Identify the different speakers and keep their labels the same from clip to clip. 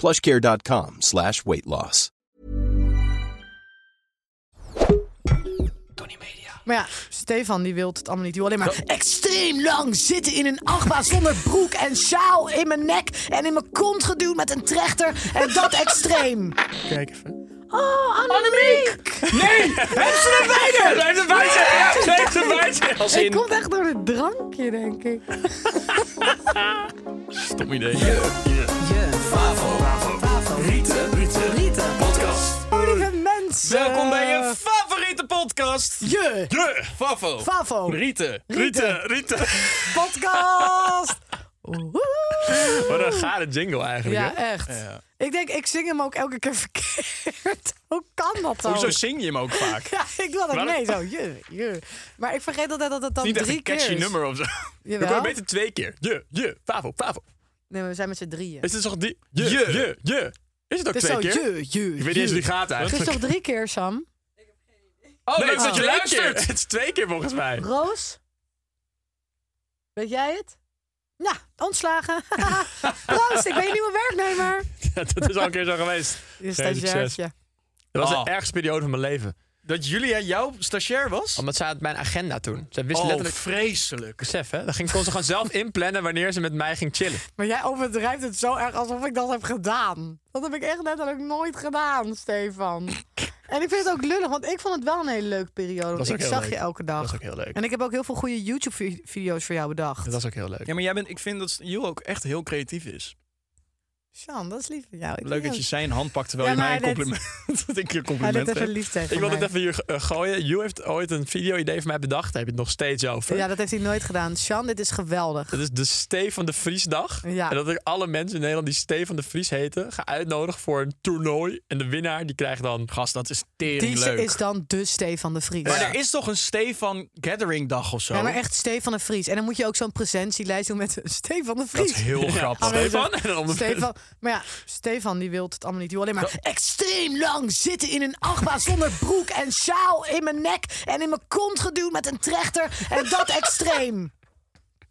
Speaker 1: Plushcare.com slash weight loss.
Speaker 2: Maar ja, Stefan die wil het allemaal niet. Die wil alleen maar extreem lang zitten in een achtbaan zonder broek en sjaal in mijn nek en in mijn kont geduwd met een trechter. En dat extreem.
Speaker 3: Kijk even.
Speaker 2: Oh, Annemiek!
Speaker 4: Nee! Heb ze er beide! Ze heeft er beide! Ja, ze heeft er beide! Als
Speaker 2: Ik
Speaker 4: in...
Speaker 2: komt echt door het drankje, denk ik.
Speaker 3: Stom idee.
Speaker 2: Lieve mensen.
Speaker 4: Welkom bij je favoriete podcast!
Speaker 2: Je
Speaker 4: De Favo.
Speaker 2: Eh. Favo
Speaker 3: Rieten.
Speaker 2: Rieten.
Speaker 3: Rieten. Rieten.
Speaker 2: podcast. Woehoe.
Speaker 3: Wat een gare jingle eigenlijk,
Speaker 2: Ja,
Speaker 3: hè?
Speaker 2: echt.
Speaker 3: Ja.
Speaker 2: Ik denk, ik zing hem ook elke keer verkeerd. Hoe kan dat dan?
Speaker 3: Hoezo zing je hem ook vaak? Het
Speaker 2: Ja, ik wil dat
Speaker 3: Maar-
Speaker 2: mee zo. Je, je. Maar ik vergeet altijd dat het dan
Speaker 3: is niet echt
Speaker 2: drie
Speaker 3: een catchy
Speaker 2: keer is.
Speaker 3: nummer of zo.
Speaker 2: Jawel.
Speaker 3: Dan kan je beter twee keer. Je, je, Favo, Favo.
Speaker 2: Nee, maar we zijn met z'n drieën.
Speaker 3: Is het toch die... Je, je, je. Is het ook
Speaker 2: Het is
Speaker 3: twee
Speaker 2: zo
Speaker 3: keer?
Speaker 2: je, je,
Speaker 3: Ik weet niet
Speaker 2: je.
Speaker 3: eens hoe die gaat
Speaker 2: Het is Ah.
Speaker 3: eigenlijk.
Speaker 2: toch drie keer, Sam?
Speaker 4: Oh,
Speaker 3: Nee,
Speaker 4: leuk
Speaker 3: het is
Speaker 4: dat je
Speaker 3: twee keer.
Speaker 4: luistert!
Speaker 3: Het is twee keer volgens mij.
Speaker 2: Roos? Weet jij het? Nou, ontslagen. Roos, ik ben je nieuwe werknemer.
Speaker 3: Dat is al een keer zo geweest.
Speaker 2: Je
Speaker 3: Geen succes.
Speaker 2: stagiairtje.
Speaker 3: Dat was
Speaker 4: Oh.
Speaker 3: de ergste periode van mijn leven.
Speaker 4: Dat Julia jouw stagiair was?
Speaker 3: Omdat zij had mijn agenda toen. Zij wist
Speaker 4: Oh,
Speaker 3: letterlijk...
Speaker 4: vreselijk.
Speaker 3: Besef, hè? Dan ging, kon ze gewoon zelf inplannen wanneer ze met mij ging chillen.
Speaker 2: Maar jij overdrijft het zo erg alsof ik dat heb gedaan. Dat heb ik echt letterlijk nooit gedaan, Stefan. En ik vind het ook lullig, want ik vond het wel een hele leuke periode.
Speaker 3: was
Speaker 2: Want ik
Speaker 3: ook heel
Speaker 2: zag
Speaker 3: leuk.
Speaker 2: je elke dag.
Speaker 3: Dat was ook heel leuk.
Speaker 2: En ik heb ook heel veel goede YouTube-video's voor jou bedacht.
Speaker 3: Dat was ook heel leuk.
Speaker 4: Ja, maar jij bent, ik vind dat Jules ook echt heel creatief is.
Speaker 2: Sjan, dat is lief van jou. Ik
Speaker 4: Leuk dat je zijn hand pakt terwijl
Speaker 2: Ja,
Speaker 4: je mij een
Speaker 2: maar dit-
Speaker 4: compliment... dat ik je
Speaker 2: Hij
Speaker 4: compliment
Speaker 2: deed even
Speaker 4: geef.
Speaker 2: lief tegen
Speaker 3: Ik wil
Speaker 2: mij.
Speaker 3: het even hier eh, gooien. You heeft ooit een video-idee van mij bedacht. Daar heb je het nog steeds over.
Speaker 2: Ja, dat heeft hij nooit gedaan. Sjan, dit is geweldig.
Speaker 3: Dat is de Stee van de Vriesdag.
Speaker 2: Ja.
Speaker 3: En dat ik alle mensen in Nederland die Stee van de Vries heten... ga uitnodigen voor een toernooi. En de winnaar die krijgt dan...
Speaker 4: Gast, dat is tering
Speaker 2: Die
Speaker 4: leuk.
Speaker 2: is dan de Stefan de Vries.
Speaker 4: Maar er is toch een Stefan Gathering dag of zo?
Speaker 2: Ja, maar echt Stefan de Vries. En dan moet je ook zo'n presentielijst doen met Stefan de Vries.
Speaker 4: Dat is heel grappig.
Speaker 3: Stefan? En dan om de-
Speaker 2: Stefan, maar ja, Stefan die wil het allemaal niet. Die wil alleen maar extreem lang zitten in een achtbaan zonder broek en sjaal in mijn nek en in mijn kont geduwd met een trechter. En dat extreem.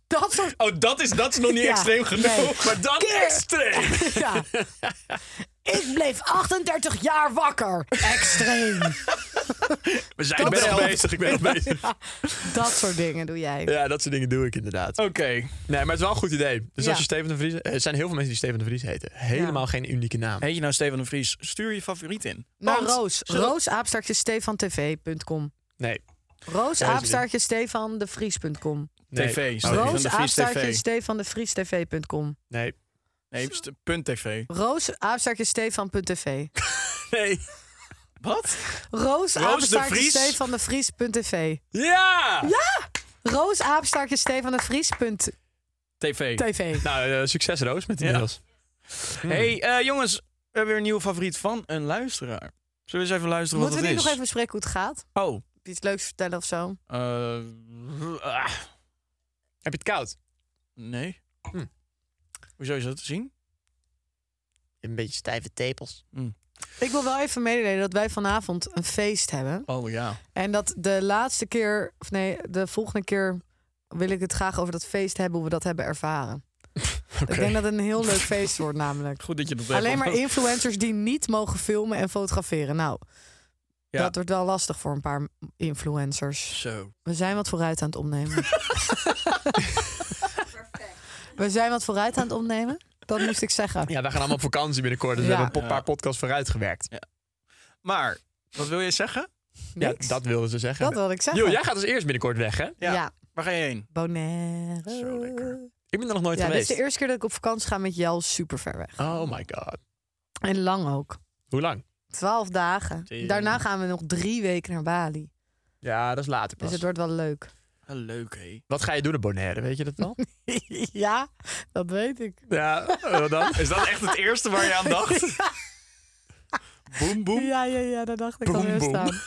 Speaker 2: Dat soort
Speaker 3: Oh, dat is, dat is nog niet
Speaker 2: Ja,
Speaker 3: extreem genoeg.
Speaker 2: nee.
Speaker 3: Maar dat
Speaker 2: Keer.
Speaker 3: extreem.
Speaker 2: Ja. Ik bleef 38 jaar wakker. Extreem.
Speaker 3: We zijn ik ben nog bezig. Ik ben nog bezig.
Speaker 2: Dat soort dingen doe jij.
Speaker 3: Ja, dat soort dingen doe ik inderdaad.
Speaker 4: Oké.
Speaker 3: Nee, maar het is wel een goed idee. Dus
Speaker 2: Ja.
Speaker 3: als je Steven de Vries... Er zijn heel veel mensen die Steven de Vries heten. Helemaal geen unieke naam.
Speaker 4: Heet je nou Stefan de Vries? Stuur je favoriet in.
Speaker 2: Nou,
Speaker 4: Want-
Speaker 2: Roos.
Speaker 4: Zullen-
Speaker 2: Roos, apenstaartje, stefantv.com.
Speaker 3: Nee.
Speaker 2: Roos,
Speaker 3: niet.
Speaker 2: apenstaartje, stefandevries.com.
Speaker 3: nee.
Speaker 4: TV.
Speaker 3: Oh,
Speaker 4: Stefan
Speaker 2: Roos,
Speaker 4: de Vries
Speaker 2: apenstaartje,
Speaker 4: TV.
Speaker 2: stefandevries.tv.com.
Speaker 3: Nee.
Speaker 4: Nee, st- punt TV.
Speaker 2: Roos, apenstaartje, stefan.tv.
Speaker 3: Nee.
Speaker 4: Wat?
Speaker 2: Roos, apenstaartje,
Speaker 4: Vries.
Speaker 2: stefandevries.tv.
Speaker 3: Ja!
Speaker 2: Roos, apenstaartje, stefandevries.tv.
Speaker 4: TV.
Speaker 3: Nou, eh, succes Roos met die
Speaker 4: Ja.
Speaker 3: mails.
Speaker 4: hey, eh, jongens. We hebben weer een nieuwe favoriet van een luisteraar. Zullen we eens even luisteren
Speaker 2: Moeten we
Speaker 4: wat
Speaker 2: nu
Speaker 4: het
Speaker 2: nog
Speaker 4: is?
Speaker 2: even bespreken hoe het gaat?
Speaker 4: Oh.
Speaker 2: Heb je iets leuks vertellen of zo?
Speaker 4: eh, ah,
Speaker 3: Heb je het koud?
Speaker 4: nee.
Speaker 3: Hm.
Speaker 4: Hoezo is dat te zien?
Speaker 3: Een beetje stijve tepels.
Speaker 2: Ik wil wel even mededelen dat wij vanavond een feest hebben.
Speaker 4: Oh ja.
Speaker 2: En dat de laatste keer, of nee, de volgende keer wil ik het graag over dat feest hebben, hoe we dat hebben ervaren. Ik denk dat het een heel leuk feest wordt, namelijk.
Speaker 4: Goed dat je dat even-
Speaker 2: Alleen maar influencers die niet mogen filmen en fotograferen. Nou,
Speaker 4: Ja.
Speaker 2: dat wordt wel lastig voor een paar influencers.
Speaker 4: Zo.
Speaker 2: We zijn wat vooruit aan het opnemen. We zijn wat vooruit aan het opnemen. Dat moest ik zeggen.
Speaker 3: Ja, wij gaan allemaal op vakantie binnenkort. Dus
Speaker 2: Ja.
Speaker 3: we hebben een po- paar podcasts vooruit gewerkt.
Speaker 4: Maar, wat wil je zeggen?
Speaker 3: Ja,
Speaker 2: Niks.
Speaker 3: dat wilde ze zeggen.
Speaker 2: Dat wilde ik zeggen.
Speaker 3: Jo, jij gaat als eerst binnenkort weg, hè?
Speaker 4: Ja.
Speaker 2: ja.
Speaker 4: Waar ga je heen?
Speaker 2: Bonaire.
Speaker 4: Zo lekker.
Speaker 3: Ik ben er nog nooit
Speaker 2: Ja, dit is
Speaker 3: geweest.
Speaker 2: de eerste keer dat ik op vakantie ga met jou super ver weg.
Speaker 3: Oh my god.
Speaker 2: En lang ook.
Speaker 3: Hoe lang?
Speaker 2: Twaalf dagen.
Speaker 4: Tering.
Speaker 2: Daarna gaan we nog drie weken naar Bali.
Speaker 3: Ja, dat is later
Speaker 2: Dus het wordt wel leuk.
Speaker 4: Wel Leuk, hé.
Speaker 3: Wat ga je doen op Bonaire, weet je dat al?
Speaker 2: ja, dat weet ik.
Speaker 3: ja, eh, wat dan?
Speaker 4: Is dat echt het eerste waar je aan dacht? boem, boem.
Speaker 2: Ja, ja, ja, daar dacht ik
Speaker 4: Boem,
Speaker 2: al eerst
Speaker 4: boem.
Speaker 2: aan.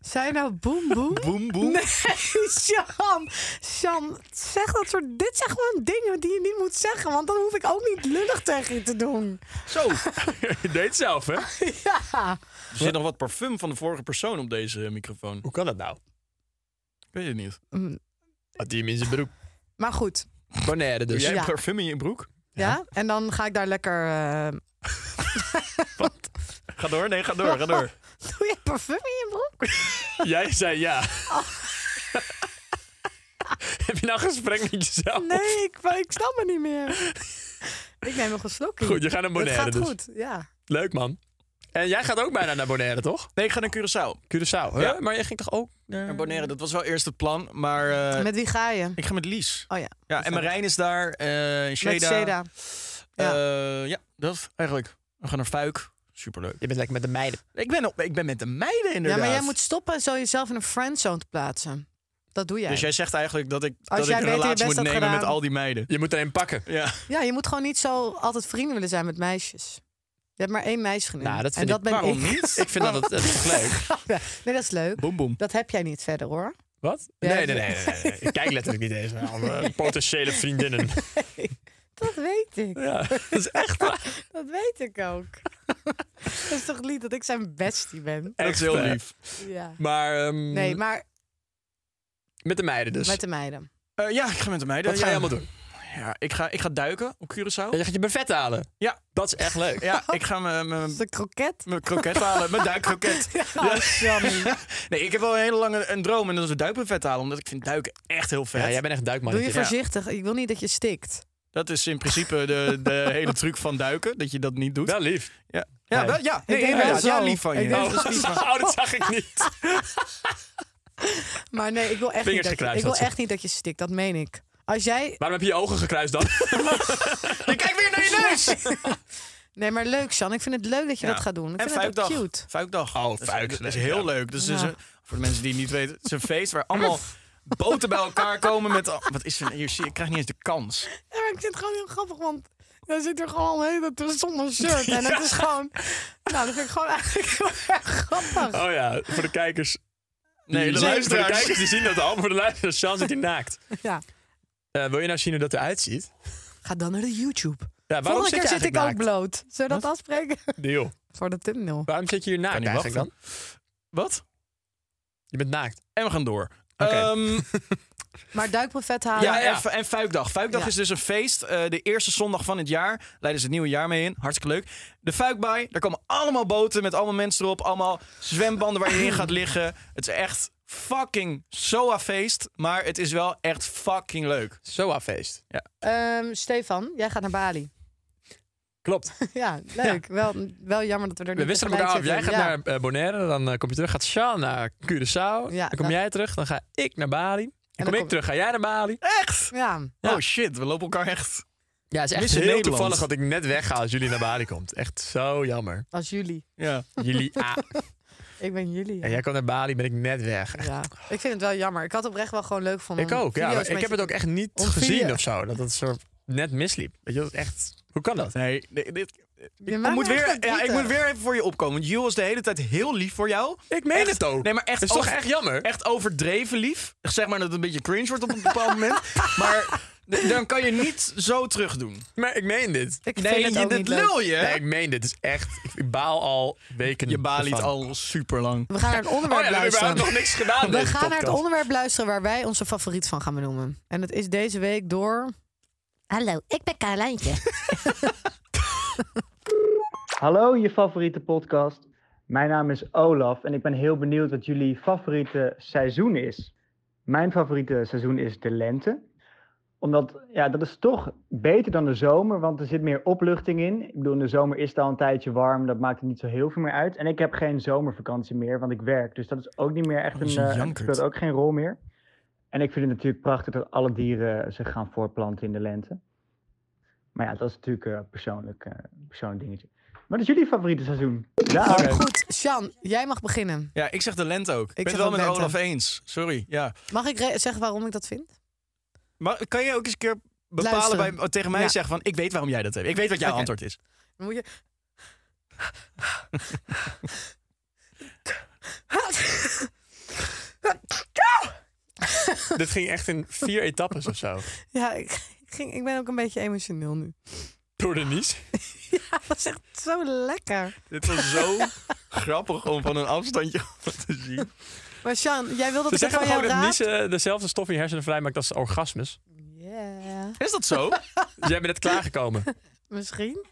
Speaker 2: Zijn nou boem boem?
Speaker 4: Boem, boem.
Speaker 2: Nee, Sjam. Sjam, zeg dat soort... Dit zijn gewoon dingen die je niet moet zeggen. Want dan hoef ik ook niet lullig tegen je te doen.
Speaker 3: Zo. je deed het zelf, hè?
Speaker 2: Ja.
Speaker 4: Er zit nog wat parfum van de vorige persoon op deze microfoon.
Speaker 3: Hoe kan dat nou?
Speaker 4: Ik weet het niet.
Speaker 2: Mm,
Speaker 3: Had hij hem in zijn broek.
Speaker 2: Maar goed.
Speaker 3: Bonaire
Speaker 4: Doe
Speaker 3: dus.
Speaker 4: jij
Speaker 2: Ja.
Speaker 4: parfum in je broek?
Speaker 2: Ja? En dan ga ik daar lekker... eh,
Speaker 4: Ga door, nee, ga door, ga door.
Speaker 2: Doe je parfum in je broek?
Speaker 3: Jij zei ja.
Speaker 2: Oh.
Speaker 3: Heb je nou een gesprek met jezelf?
Speaker 2: Nee, ik, ik snap het niet meer. Ik neem nog een slokje.
Speaker 3: Goed, je gaat naar
Speaker 2: Het
Speaker 3: Bonaire
Speaker 2: gaat
Speaker 3: dus.
Speaker 2: goed, ja.
Speaker 3: Leuk, man. En jij gaat ook bijna naar Bonaire, toch?
Speaker 4: Nee, ik ga naar Curaçao.
Speaker 3: Curaçao, hè?
Speaker 4: Ja.
Speaker 3: Maar jij ging toch ook naar...
Speaker 4: Naar Bonaire, dat was wel eerst het plan, maar eh,
Speaker 2: Ehm. Met wie ga je?
Speaker 4: ik ga met Lies.
Speaker 2: Oh ja,
Speaker 4: Ja, en Marijn is daar, eh Sheda.
Speaker 2: met Seda.
Speaker 4: Eh,
Speaker 2: Ja.
Speaker 4: ja. dat eigenlijk. We gaan naar Fuik. Superleuk.
Speaker 3: Je bent lekker met de meiden.
Speaker 4: Ik ben, op, ik ben met de meiden
Speaker 2: Ja,
Speaker 4: inderdaad.
Speaker 2: maar jij moet stoppen zo jezelf in een friendzone te plaatsen. Dat doe jij.
Speaker 4: Dus jij zegt eigenlijk dat ik, dat
Speaker 2: Als
Speaker 4: ik
Speaker 2: jij
Speaker 4: een
Speaker 2: beter je
Speaker 4: relatie
Speaker 2: best
Speaker 4: moet
Speaker 2: had
Speaker 4: nemen
Speaker 2: gedaan.
Speaker 4: met al die meiden.
Speaker 3: Je moet er een pakken.
Speaker 4: Ja.
Speaker 2: Ja, je moet gewoon niet zo altijd vrienden willen zijn met meisjes. Je hebt maar één meisgenoot.
Speaker 3: Nou, dat
Speaker 2: en
Speaker 3: vind
Speaker 2: dat
Speaker 3: ik-
Speaker 2: ben
Speaker 3: waarom
Speaker 2: ik.
Speaker 4: niet?
Speaker 3: Ik vind dat,
Speaker 2: Oh.
Speaker 3: dat, dat is leuk.
Speaker 2: Nee, dat is leuk.
Speaker 4: Boom, boom.
Speaker 2: Dat heb jij niet verder hoor.
Speaker 3: Wat?
Speaker 2: Ja,
Speaker 3: nee, nee,
Speaker 2: dat-
Speaker 3: nee, nee, nee. Ik kijk letterlijk niet eens naar andere potentiële vriendinnen.
Speaker 2: Dat weet ik.
Speaker 3: Ja, dat is echt waar.
Speaker 2: Dat weet ik ook. dat is toch lief dat ik zijn bestie ben?
Speaker 4: Dat is heel
Speaker 3: Echt, eh,
Speaker 4: lief.
Speaker 2: Ja.
Speaker 3: Maar ehm,
Speaker 2: Nee, maar
Speaker 3: met de meiden dus.
Speaker 2: met de meiden.
Speaker 4: Eh, ja, ik ga met de meiden.
Speaker 3: Wat ga je
Speaker 4: ja.
Speaker 3: allemaal doen?
Speaker 4: Ja, ik ga, ik ga duiken op Curaçao.
Speaker 3: Je gaat je buffet halen.
Speaker 4: Ja.
Speaker 3: Dat is echt leuk.
Speaker 4: Ja, ik ga mijn- mijn
Speaker 2: De kroket.
Speaker 4: mijn kroket halen. Mijn duikkroket.
Speaker 2: Ja, oh, Sammy.
Speaker 4: Nee, ik heb wel een hele lange een droom en dat is een duikbuffet halen. Omdat ik vind duiken echt heel vet.
Speaker 3: Ja, jij bent echt een
Speaker 2: Doe
Speaker 3: duikmannetje.
Speaker 2: je voorzichtig. Ik wil niet dat je stikt.
Speaker 4: Dat is in principe de, de hele truc van duiken. Dat je dat niet doet.
Speaker 3: Wel lief.
Speaker 4: Ja, ja, wel, ja. Nee,
Speaker 2: denk wel
Speaker 4: inderdaad. ja
Speaker 2: zo.
Speaker 4: lief van
Speaker 2: Ik
Speaker 4: je.
Speaker 2: denk
Speaker 4: Ja,
Speaker 3: Oh,
Speaker 4: dat is lief van-
Speaker 3: oh, dat zag ik niet.
Speaker 2: Maar nee, ik wil echt, niet
Speaker 3: Vingers
Speaker 2: dat je,
Speaker 3: gekruist,
Speaker 2: ik wil
Speaker 3: had ze.
Speaker 2: echt niet dat je stikt. Dat meen ik. Als jij.
Speaker 3: Waarom heb je je ogen gekruist dan?
Speaker 4: Je kijkt weer naar je neus.
Speaker 2: Nee, maar leuk, San. Ik vind het leuk dat je
Speaker 4: Ja.
Speaker 2: dat gaat doen. Ik
Speaker 4: En
Speaker 2: vind het ook
Speaker 4: fuikdag.
Speaker 2: cute.
Speaker 4: Fuikdag.
Speaker 3: Oh,
Speaker 4: Dat is-
Speaker 3: fuik.
Speaker 4: Dat is
Speaker 3: Nee,
Speaker 4: heel
Speaker 3: ja.
Speaker 4: leuk. Dus het is
Speaker 2: Ja.
Speaker 4: een- voor de mensen die het niet weten, het is een feest waar allemaal boten bij elkaar komen met... al- Wat is er? Hier zie je, ik krijg niet eens de kans.
Speaker 2: Ja, maar ik vind het gewoon heel grappig, want dan zit er gewoon een hele tijd zonder shirt. En het is gewoon... Nou, dat vind ik gewoon eigenlijk heel erg grappig.
Speaker 3: Oh ja, voor de kijkers.
Speaker 4: Nee, de
Speaker 3: die, voor de
Speaker 4: luisteraars.
Speaker 3: kijkers die zien dat al. maar Voor de luisteraars, Sean zit hier naakt.
Speaker 2: Ja.
Speaker 3: Eh, wil je nou zien hoe dat eruit ziet?
Speaker 2: Ga dan naar de YouTube.
Speaker 3: Ja, waarom
Speaker 2: Volgende
Speaker 3: zit
Speaker 2: keer
Speaker 3: je
Speaker 2: zit ik ook
Speaker 3: eigenlijk
Speaker 2: bloot. Zullen we dat afspreken?
Speaker 3: naakt? Nee, joh.
Speaker 2: Voor de thumbnail.
Speaker 3: Waarom zit je hier naakt
Speaker 4: niet
Speaker 3: eigenlijk dan?
Speaker 4: wachten. Wat?
Speaker 3: Je bent naakt.
Speaker 4: En we gaan door.
Speaker 3: Oké.
Speaker 4: Ehm,
Speaker 2: Ah, Maar duikprofet halen.
Speaker 4: ja,
Speaker 3: Ah, ja.
Speaker 4: en, fu- en Fuikdag. Fuikdag
Speaker 2: Ja.
Speaker 4: is dus een feest. eh, de eerste zondag van het jaar. Leiden ze het nieuwe jaar mee in. Hartstikke leuk. De Fuikbaai. Daar komen allemaal boten met allemaal mensen erop. Allemaal zwembanden waar je in gaat liggen. Het is echt fucking soa feest. Maar het is wel echt fucking leuk.
Speaker 3: Soa-feest.
Speaker 2: Ehm, Stefan, jij gaat naar Bali.
Speaker 3: Klopt.
Speaker 2: ja, leuk. Wel, wel jammer dat we er
Speaker 3: We
Speaker 2: niet
Speaker 3: wisten
Speaker 2: tegelijk
Speaker 3: elkaar af. Jij
Speaker 2: zitten.
Speaker 3: gaat
Speaker 2: Ja.
Speaker 3: naar eh, Bonaire, dan eh, kom je terug. Gaat Sean naar Curaçao,
Speaker 2: Ja,
Speaker 3: dan kom
Speaker 2: dan-
Speaker 3: jij terug. Dan ga ik naar Bali. Dan kom
Speaker 2: dan
Speaker 3: ik
Speaker 2: kom-
Speaker 3: terug, ga jij naar Bali.
Speaker 4: Echt?
Speaker 2: Ja,
Speaker 3: Ja.
Speaker 4: Oh shit, we lopen elkaar echt.
Speaker 3: Ja, het is echt
Speaker 4: Missen
Speaker 3: heel
Speaker 4: Nederland.
Speaker 3: toevallig dat ik net wegga als jullie naar Bali komt. Echt zo jammer.
Speaker 2: als jullie.
Speaker 4: Ja.
Speaker 3: Jullie ah.
Speaker 2: Ik ben jullie.
Speaker 3: En jij komt naar Bali, ben ik net weg.
Speaker 2: ja. Ja. Ik vind het wel jammer. Ik had oprecht wel gewoon leuk van
Speaker 3: Ik ook, ja. maar Ik heb het ook echt niet
Speaker 2: om
Speaker 3: gezien
Speaker 2: video-
Speaker 3: of zo. Dat het soort net misliep. Weet je, dat is echt... Hoe kan dat?
Speaker 4: Nee, nee, dit,
Speaker 2: Je
Speaker 4: ik,
Speaker 2: maakt
Speaker 4: moet
Speaker 2: me
Speaker 4: weer,
Speaker 2: echt
Speaker 4: ja, ik
Speaker 2: verdrietig.
Speaker 4: moet weer even voor je opkomen. Want Jules was de hele tijd heel lief voor jou.
Speaker 3: Ik meen
Speaker 4: Echt.
Speaker 3: het ook.
Speaker 4: Nee, maar echt
Speaker 3: Het is toch
Speaker 4: over-
Speaker 3: echt jammer?
Speaker 4: Echt overdreven lief. Zeg maar dat het een beetje cringe wordt op een bepaald moment. Maar d- dan kan je niet zo terug doen.
Speaker 3: Maar ik meen dit.
Speaker 2: Ik
Speaker 4: nee,
Speaker 2: vind het
Speaker 4: je,
Speaker 2: ook
Speaker 4: dit
Speaker 2: niet leuk.
Speaker 4: lul je.
Speaker 3: Nee, ik meen dit. Het is echt... Ik baal al weken
Speaker 4: je baliet
Speaker 3: ervan.
Speaker 4: al super lang.
Speaker 2: We gaan naar het
Speaker 3: Oh
Speaker 2: onderwerp
Speaker 3: ja, we hebben
Speaker 2: luisteren.
Speaker 3: überhaupt nog niks gedaan in
Speaker 2: We
Speaker 3: deze
Speaker 2: gaan naar het
Speaker 3: podcast.
Speaker 2: onderwerp luisteren waar wij onze favoriet van gaan benoemen. En dat is deze week door...
Speaker 5: Hallo, ik ben Carlijntje.
Speaker 6: Hallo, je favoriete podcast. Mijn naam is Olaf en ik ben heel benieuwd wat jullie favoriete seizoen is. Mijn favoriete seizoen is de lente, Omdat, ja, dat is toch beter dan de zomer, want er zit meer opluchting in. Ik bedoel, in de zomer is het al een tijdje warm, dat maakt het niet zo heel veel meer uit. En ik heb geen zomervakantie meer, want ik werk. Dus dat is ook niet meer echt
Speaker 4: Oh,
Speaker 6: een,
Speaker 4: dat is
Speaker 6: eh,
Speaker 4: een
Speaker 6: het
Speaker 4: jankert.
Speaker 6: speelt ook geen rol meer. En ik vind het natuurlijk prachtig dat alle dieren zich gaan voortplanten in de lente. Maar ja, dat is natuurlijk eh, persoonlijk, eh, persoonlijk dingetje. Wat is jullie favoriete seizoen? Ja,
Speaker 2: Goed, Sjan, jij mag beginnen.
Speaker 4: Ja, ik zeg de lente ook. Ik ben
Speaker 2: zeg
Speaker 4: het wel
Speaker 2: ook
Speaker 4: met
Speaker 2: lente.
Speaker 4: Olaf eens. Sorry, ja.
Speaker 2: Mag ik re- zeggen waarom ik dat vind?
Speaker 4: Maar kan je ook eens een keer bepalen
Speaker 2: Luisteren.
Speaker 4: bij, tegen mij
Speaker 2: Ja.
Speaker 4: zeggen van... Ik weet waarom jij dat hebt. Ik weet wat jouw
Speaker 2: Oké.
Speaker 4: antwoord is.
Speaker 2: Dan moet je...
Speaker 3: Dit ging echt in vier etappes of zo.
Speaker 2: Ja, ik, ik ging, ik ben ook een beetje emotioneel nu.
Speaker 3: Door de nies.
Speaker 2: Ja, dat is echt zo lekker.
Speaker 4: Dit was zo grappig om van een afstandje te zien.
Speaker 2: Maar Sjan, jij wil dat
Speaker 3: Ze
Speaker 2: ik het
Speaker 3: zeggen
Speaker 2: van
Speaker 3: gewoon
Speaker 2: jou
Speaker 3: dat
Speaker 2: raad?
Speaker 3: niezen dezelfde stof in je hersenen vrijmaakt als orgasmes.
Speaker 2: Ja,
Speaker 4: Is dat zo?
Speaker 3: Dus jij bent net klaargekomen.
Speaker 2: misschien.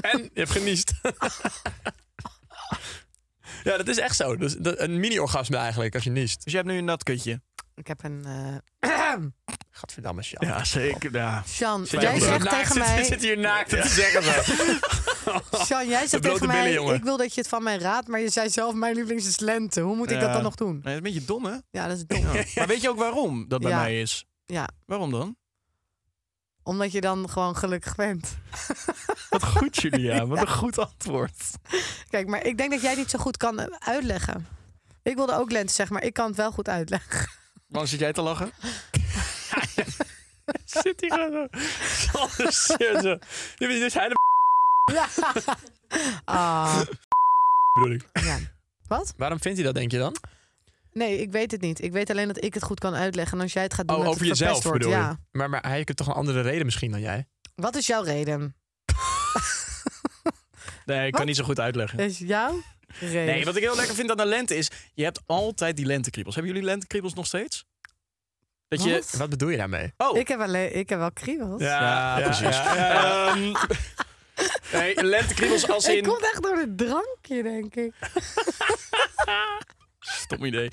Speaker 3: En je hebt geniest. ja, dat is echt zo. Dat is, dat- een mini-orgasme eigenlijk, als je niest.
Speaker 4: Dus je hebt nu een nat kutje.
Speaker 2: Ik heb een... eh,
Speaker 3: Gadverdamme, Sjan.
Speaker 4: Ja, zeker. Ja.
Speaker 2: Sjan,
Speaker 3: Zit
Speaker 2: jij
Speaker 3: hier
Speaker 2: zegt
Speaker 3: naakt-
Speaker 2: tegen
Speaker 3: zit-
Speaker 2: mij...
Speaker 3: Zit hier naakt te zeggen zo.
Speaker 2: Sjan, jij zegt
Speaker 3: blote billen,
Speaker 2: tegen mij,
Speaker 3: jongen.
Speaker 2: ik wil dat je het van mij raadt, maar je zei zelf, mijn lievelings is lente. Hoe moet ik dat
Speaker 4: Ja.
Speaker 2: dan nog doen?
Speaker 4: Nee, dat is een beetje dom, hè?
Speaker 2: Ja, dat is dom.
Speaker 4: Maar weet je ook waarom dat bij
Speaker 2: Ja.
Speaker 4: mij is?
Speaker 2: Ja.
Speaker 4: Waarom dan?
Speaker 2: Omdat je dan gewoon gelukkig bent.
Speaker 4: Wat goed, Julia. Wat een goed antwoord.
Speaker 2: Kijk, maar ik denk dat jij niet zo goed kan eh, uitleggen. Ik wilde ook lente zeggen, maar ik kan het wel goed uitleggen.
Speaker 4: Waarom zit jij te lachen?
Speaker 3: Zit hier gewoon zo. Sander zit zo. Nu ben je dus hij de
Speaker 2: Ja. Ah,
Speaker 3: bedoel ik. Oh,
Speaker 2: ja. Wat?
Speaker 3: Waarom vindt hij dat, denk je dan?
Speaker 2: Nee, ik weet het niet. Ik weet alleen dat ik het goed kan uitleggen. En als jij het gaat doen,
Speaker 3: Oh,
Speaker 2: dat
Speaker 3: over
Speaker 2: het
Speaker 3: jezelf
Speaker 2: verpest wordt.
Speaker 3: bedoel
Speaker 2: Ja.
Speaker 3: je. Maar, maar hij heeft toch een andere reden misschien dan jij?
Speaker 2: Wat is jouw reden?
Speaker 4: Nee, ik kan niet zo goed uitleggen.
Speaker 2: Is jouw reden?
Speaker 4: Nee, wat ik heel lekker vind aan de lente is... je hebt altijd die lentekriebels. Hebben jullie lentekriebels nog steeds? Dat je...
Speaker 2: Wat?
Speaker 3: Wat bedoel je daarmee?
Speaker 4: Oh,
Speaker 2: Ik heb, alleen, ik heb wel kriebels.
Speaker 4: Ja, precies. Ehm, nee, lentekriebels als
Speaker 2: Het
Speaker 4: in...
Speaker 2: komt echt door het drankje, denk ik.
Speaker 4: Stom idee.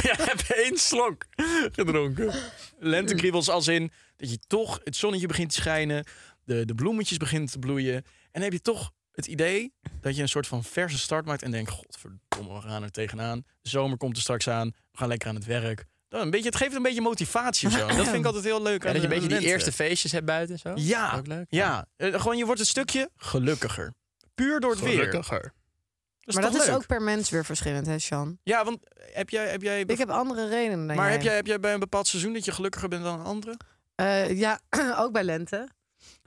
Speaker 3: Jij hebt één slok gedronken.
Speaker 4: Lentekriebels als in dat je toch... het zonnetje begint te schijnen. De, de bloemetjes beginnen te bloeien. En dan heb je toch het idee dat je een soort van verse start maakt... en denkt, godverdomme, we gaan er tegenaan. De zomer komt er straks aan. We gaan lekker aan het werk. Dan een beetje, het geeft een beetje motivatie of zo. En Dat vind ik altijd heel leuk
Speaker 3: Ja,
Speaker 4: aan
Speaker 3: dat
Speaker 4: de
Speaker 3: je een beetje die
Speaker 4: lente.
Speaker 3: eerste feestjes hebt buiten en zo.
Speaker 4: Ja,
Speaker 3: Ook leuk.
Speaker 4: Ja, eh, gewoon je wordt een stukje gelukkiger. Puur door het weer. Dat
Speaker 3: Gelukkiger.
Speaker 4: is
Speaker 2: maar
Speaker 4: toch
Speaker 2: dat is
Speaker 4: leuk?
Speaker 2: ook per mens weer verschillend, hè, Sjan?
Speaker 4: Ja, want heb jij... Heb jij
Speaker 2: Ik heb andere redenen dan
Speaker 4: maar
Speaker 2: jij.
Speaker 4: heb jij, heb jij bij een bepaald seizoen dat je gelukkiger bent dan een andere?
Speaker 2: Eh, ja, ook bij lente.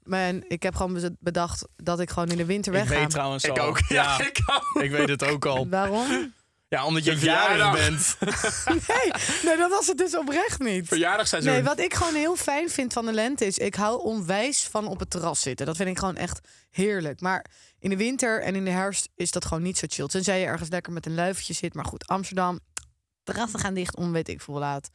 Speaker 2: Maar ik heb gewoon bez- bedacht dat ik gewoon in de winter wegga.
Speaker 4: trouwens
Speaker 3: Ik ook. Ja, ik ook.
Speaker 4: ik weet het ook al.
Speaker 2: Waarom?
Speaker 4: Ja, omdat je
Speaker 3: De
Speaker 4: jarig
Speaker 3: verjaardag.
Speaker 4: bent.
Speaker 2: Nee, nee, dat was het dus oprecht niet.
Speaker 3: Verjaardagsseizoen.
Speaker 2: Nee, wat ik gewoon heel fijn vind van de lente is... ik hou onwijs van op het terras zitten. Dat vind ik gewoon echt heerlijk. Maar in de winter en in de herfst is dat gewoon niet zo chill. Tenzij je ergens lekker met een luifje zit. Maar goed, Amsterdam, terrassen gaan dicht om weet ik veel laat.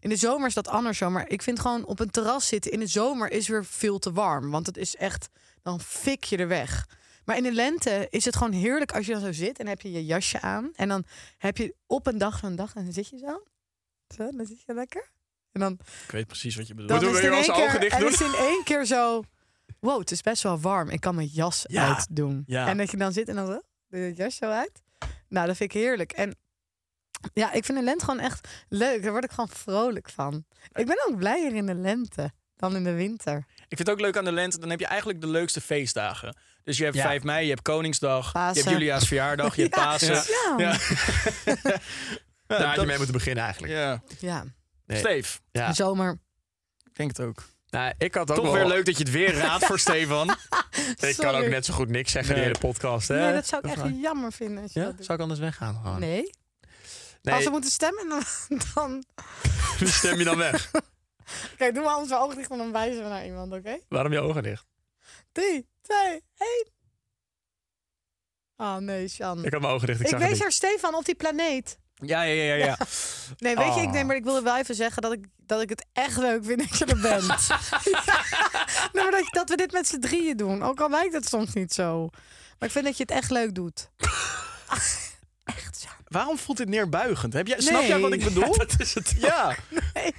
Speaker 2: In de zomer is dat anders zo. Maar ik vind gewoon op een terras zitten in de zomer is weer veel te warm. Want het is echt, dan fik je er weg. Maar in de lente is het gewoon heerlijk als je dan zo zit... en heb je je jasje aan. En dan heb je op een dag zo'n dag en dan zit je zo. Zo, dan zit je lekker. En dan
Speaker 4: Ik weet precies wat je bedoelt.
Speaker 2: dan
Speaker 3: Moeten we
Speaker 2: is het
Speaker 3: weer onze
Speaker 2: in één
Speaker 3: ogen
Speaker 2: keer-
Speaker 3: dicht doen?
Speaker 2: En is het in één keer zo... Wow, het is best wel warm. Ik kan mijn jas
Speaker 4: Ja,
Speaker 2: uitdoen.
Speaker 4: ja.
Speaker 2: En dat je dan zit en dan zo... Doe je het jas zo uit? Nou, dat vind ik heerlijk. En ja, ik vind de lente gewoon echt leuk. Daar word ik gewoon vrolijk van. Ik ben ook blijer in de lente dan in de winter.
Speaker 4: Ik vind het ook leuk aan de lente, dan heb je eigenlijk de leukste feestdagen. Dus je hebt
Speaker 3: Ja.
Speaker 4: 5 mei, je hebt Koningsdag, je
Speaker 2: Pasen.
Speaker 4: hebt Julia's verjaardag, je hebt Pasen. Ja.
Speaker 2: Ja.
Speaker 4: Ja.
Speaker 2: ja.
Speaker 3: Daar had je
Speaker 4: dat-
Speaker 3: mee moeten beginnen eigenlijk. Nee.
Speaker 4: Steef,
Speaker 3: Ja.
Speaker 2: Zomer.
Speaker 4: ik denk het ook.
Speaker 3: Nou, ik had ook
Speaker 4: Toch
Speaker 3: wel...
Speaker 4: weer leuk dat je het weer raadt voor Stefan.
Speaker 3: Ik kan
Speaker 2: Sorry.
Speaker 3: ook net zo goed niks zeggen
Speaker 4: Nee.
Speaker 3: in de hele podcast. Hè?
Speaker 2: Nee, dat zou ik echt
Speaker 3: Eh, is waar.
Speaker 2: jammer vinden als je
Speaker 3: Ja?
Speaker 2: dat doet.
Speaker 3: Zou ik anders weggaan? Gewoon?
Speaker 2: Nee.
Speaker 3: Nee,
Speaker 2: Als we moeten stemmen, dan... dan...
Speaker 3: wie stem je dan weg?
Speaker 2: Kijk, doe maar anders wel ogen dicht en dan wijzen we naar iemand, oké?
Speaker 3: Waarom je ogen dicht?
Speaker 2: Drie, twee, één. Ah nee, Sjan.
Speaker 3: Ik had mijn ogen dicht, ik,
Speaker 2: Ik,
Speaker 3: zag
Speaker 2: wees
Speaker 3: het
Speaker 2: er Stefan op die planeet.
Speaker 4: Ja, ja, ja, ja.
Speaker 2: Nee, weet je, ik
Speaker 4: Ah.
Speaker 2: neem, maar ik wilde wel even zeggen dat ik, dat ik het echt leuk vind dat je er bent. Ja. Nee, maar dat, dat we dit met z'n drieën doen. Ook al lijkt het soms niet zo. Maar ik vind dat je het echt leuk doet. echt, Sjan.
Speaker 4: Waarom voelt dit neerbuigend? Heb jij, Snap jij
Speaker 2: Nee.
Speaker 4: wat ik bedoel?
Speaker 3: niet. Dat is het.
Speaker 4: Ja.
Speaker 2: Dat bedoel ik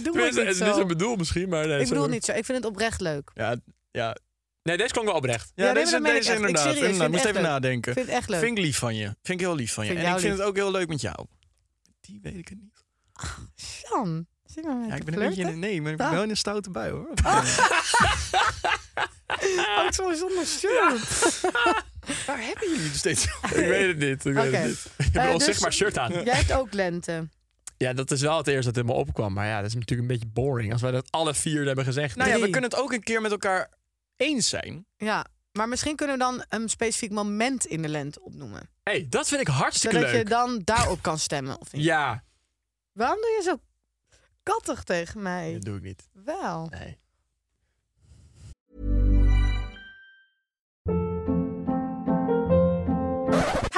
Speaker 3: Tenminste,
Speaker 2: niet
Speaker 3: het is
Speaker 2: zo.
Speaker 3: een bedoel misschien, maar... Nee,
Speaker 2: Ik
Speaker 3: zo-
Speaker 2: bedoel het niet zo. Ik vind het oprecht leuk.
Speaker 4: Ja, ja.
Speaker 3: Nee, deze klonk wel oprecht.
Speaker 4: ja
Speaker 2: nee, maar
Speaker 4: deze,
Speaker 2: dat meen ik
Speaker 4: deze
Speaker 2: echt. Ik
Speaker 4: inderdaad.
Speaker 2: serieus,
Speaker 4: inderdaad.
Speaker 2: vind
Speaker 4: Moest
Speaker 2: het
Speaker 4: even
Speaker 2: echt leuk.
Speaker 4: nadenken.
Speaker 2: Ik vind het echt leuk.
Speaker 4: Vind ik lief van je. Vind ik heel lief van je.
Speaker 2: Vind
Speaker 4: en
Speaker 2: jou
Speaker 4: ik vind
Speaker 2: lief.
Speaker 4: het ook heel leuk met jou. Die weet ik het niet.
Speaker 2: Jan, zie maar met
Speaker 4: Ja,
Speaker 2: ja,
Speaker 4: ik ben een beetje in nee, maar ik ben
Speaker 2: Ah.
Speaker 4: wel in een stoute bui hoor.
Speaker 2: Ook zo zonder shirt.
Speaker 4: Waar hebben jullie het steeds over?
Speaker 3: Ik weet het niet. Ik weet
Speaker 2: Oké.
Speaker 3: het niet. Ik heb een
Speaker 2: Eh, dus-
Speaker 3: onzichtbaar shirt aan.
Speaker 2: Jij hebt ook lente.
Speaker 3: Ja, dat is wel het eerste dat in me opkwam. Maar ja, dat is natuurlijk een beetje boring als wij dat alle vier hebben gezegd.
Speaker 4: Nou ja, we
Speaker 2: Drie.
Speaker 4: kunnen het ook een keer met elkaar eens zijn.
Speaker 2: Ja, maar misschien kunnen we dan een specifiek moment in de lente opnoemen.
Speaker 3: hey, dat vind ik hartstikke
Speaker 2: Zodat je
Speaker 3: leuk.
Speaker 2: dan daarop kan stemmen. Of niet?
Speaker 3: Ja.
Speaker 2: Waarom doe je zo kattig tegen mij?
Speaker 4: Dat doe ik niet.
Speaker 2: Wel.
Speaker 4: Nee.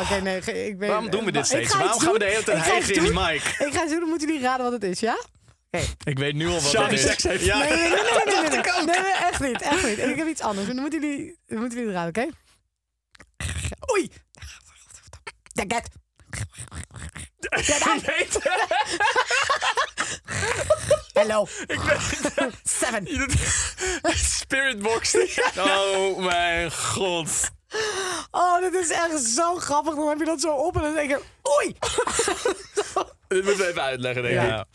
Speaker 2: Oké, nee, ge- ik ben.
Speaker 4: Waarom doen we dit
Speaker 2: Ik
Speaker 4: steeds?
Speaker 2: ga iets
Speaker 4: Waarom gaan we de
Speaker 2: doen.
Speaker 4: hele tijd
Speaker 2: Ik ga iets
Speaker 4: hijgen in die
Speaker 2: doen.
Speaker 4: mic?
Speaker 2: Ik ga eens doen, dan moeten jullie raden wat het is, ja?
Speaker 4: Ik weet nu al wat
Speaker 3: Charlie
Speaker 4: dat is.
Speaker 3: seks heeft.
Speaker 4: Ja.
Speaker 2: Nee, nee, nee, nee, nee, nee, nee. Nee, nee, echt niet, echt niet. En ik heb iets anders. Dan moeten jullie, dan moeten jullie raden, oké? Oei. Denk het. Hello. Seven.
Speaker 3: Spiritbox.
Speaker 4: Oh mijn god.
Speaker 2: Oh, dit is echt zo grappig. Dan heb je dat zo op en dan denk je, oei.
Speaker 3: Dit moeten we even uitleggen, denk ik.
Speaker 2: Ja.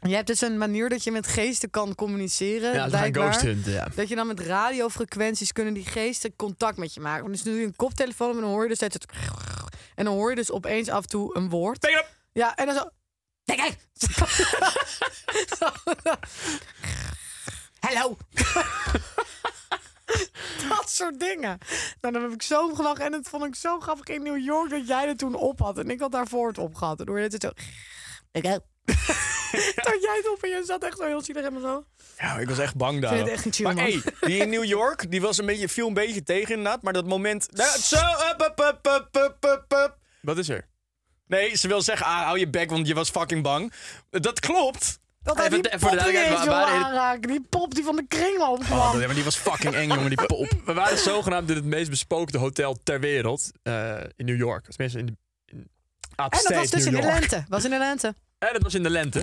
Speaker 3: Ja,
Speaker 2: Je hebt dus een manier dat je met geesten kan communiceren.
Speaker 3: ja we gaan
Speaker 2: blijkbaar.
Speaker 3: ghost hunten, ja.
Speaker 2: Dat je dan met radiofrequenties kunnen die geesten contact met je maken. Want dus nu doe je een koptelefoon op en dan hoor je dus het. En dan hoor je dus opeens af en toe een woord.
Speaker 3: Pick it up.
Speaker 2: Ja, en dan zo. Kijk, kijk. Hallo. Dat soort dingen. Nou, dan heb ik zo om gelachen. En dat vond ik zo grappig in New York dat jij dat toen op had. En ik had daarvoor het op gehad. En door het zo.
Speaker 5: Ik ook.
Speaker 2: Dat jij het op en je zat echt zo heel zielig helemaal zo.
Speaker 4: Ja, ik was echt bang daar.
Speaker 2: vind het echt niet chill,
Speaker 4: maar
Speaker 2: man.
Speaker 4: hey, die in New York, die was een beetje, viel een beetje tegen inderdaad. Maar dat moment... Nou, Zo, up, up, up, up, up, up, up.
Speaker 3: Wat is er?
Speaker 4: Nee, ze wil zeggen, ah, hou je bek, want je was fucking bang. Dat klopt.
Speaker 2: Dat hij
Speaker 3: Even-
Speaker 2: die
Speaker 3: even
Speaker 2: pop
Speaker 3: de
Speaker 2: niet
Speaker 3: duidelijkheid,
Speaker 2: eens
Speaker 3: we- we
Speaker 2: wil
Speaker 3: waren-
Speaker 2: aanraken. Die pop die van de kringloop kwam.
Speaker 4: Oh, maar die was fucking eng, jongen, die pop.
Speaker 3: We waren zogenaamd in het meest bespookte hotel ter wereld eh, in New York. Tenminste, in de... in
Speaker 2: en dat was
Speaker 3: upstate
Speaker 2: dus in
Speaker 3: New
Speaker 2: de
Speaker 3: York.
Speaker 2: lente. Was in de lente.
Speaker 3: En dat was in de lente.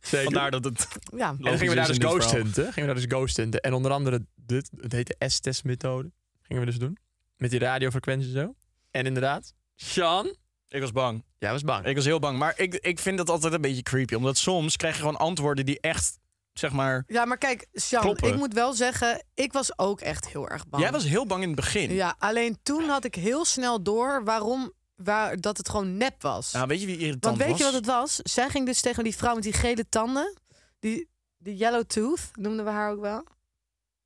Speaker 3: Zeker.
Speaker 4: Vandaar dat het...
Speaker 2: Ja.
Speaker 3: En dan
Speaker 4: Logisch
Speaker 3: gingen we daar dus
Speaker 4: is in dit
Speaker 3: ghost
Speaker 4: verhaal.
Speaker 3: hunten. Gingen we daar dus ghost hunten. En onder andere dit, het heet de S-test methode. Gingen we dus doen. Met die radiofrequenties en zo. En inderdaad, Sean,
Speaker 4: Ik was bang.
Speaker 3: jij was bang.
Speaker 4: Ik was heel bang. Maar ik, ik vind dat altijd een beetje creepy. Omdat soms krijg je gewoon antwoorden die echt, zeg maar...
Speaker 2: Ja, maar kijk, Sjan,
Speaker 4: Kloppen.
Speaker 2: ik moet wel zeggen, ik was ook echt heel erg bang.
Speaker 4: Jij was heel bang in het begin.
Speaker 2: Ja, alleen toen had ik heel snel door waarom waar, dat het gewoon nep was.
Speaker 4: Nou, weet je wie irritant
Speaker 2: Want weet
Speaker 4: was?
Speaker 2: je wat het was? Zij ging dus tegen die vrouw met die gele tanden, die, die yellow tooth, noemden we haar ook wel.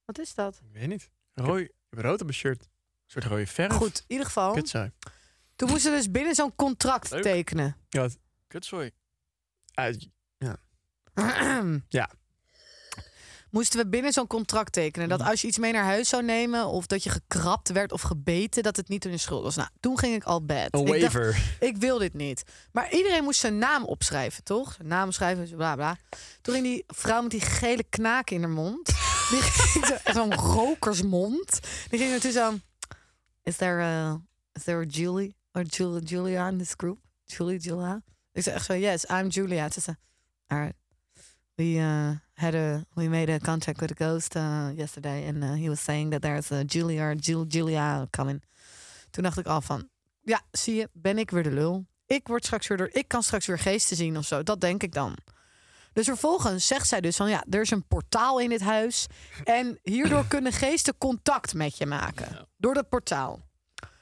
Speaker 2: Wat is dat?
Speaker 3: Ik weet niet.
Speaker 4: Rooi, een
Speaker 3: Ik heb rood op mijn shirt.
Speaker 4: soort rode verf.
Speaker 2: Goed, in ieder geval.
Speaker 3: Kut zijn.
Speaker 2: Toen moest ze dus binnen zo'n contract
Speaker 4: Leuk.
Speaker 2: tekenen.
Speaker 4: Kutzooi.
Speaker 3: Ja.
Speaker 2: Moesten we binnen zo'n contract tekenen dat als je iets mee naar huis zou nemen of dat je gekrapt werd of gebeten, dat het niet hun schuld was. Nou, toen ging ik al bad.
Speaker 3: Een
Speaker 2: Ik dacht,
Speaker 3: waiver.
Speaker 2: ik wil dit niet. Maar iedereen moest zijn naam opschrijven, toch? Zijn naam schrijven, zo bla bla. Toen ging die vrouw met die gele knaak in haar mond. Die ging zo- echt zo'n rokersmond. Die ging naartoe zo... Is there a, is there a Julie? Or Julia, Julia in this group? Julie, Julia? Ik zei echt zo, yes, I'm Julia. Ze zei, all right. We, uh, had a, we made a contact with a ghost uh, yesterday. And uh, he was saying that there's a Julia or Jul- Julia coming. Toen dacht ik al van, ja, zie je, ben ik weer de lul. Ik word straks weer door, ik kan straks weer geesten zien of zo. Dat denk ik dan. Dus vervolgens zegt zij dus van ja, er is een portaal in dit huis en hierdoor kunnen geesten contact met je maken door dat portaal.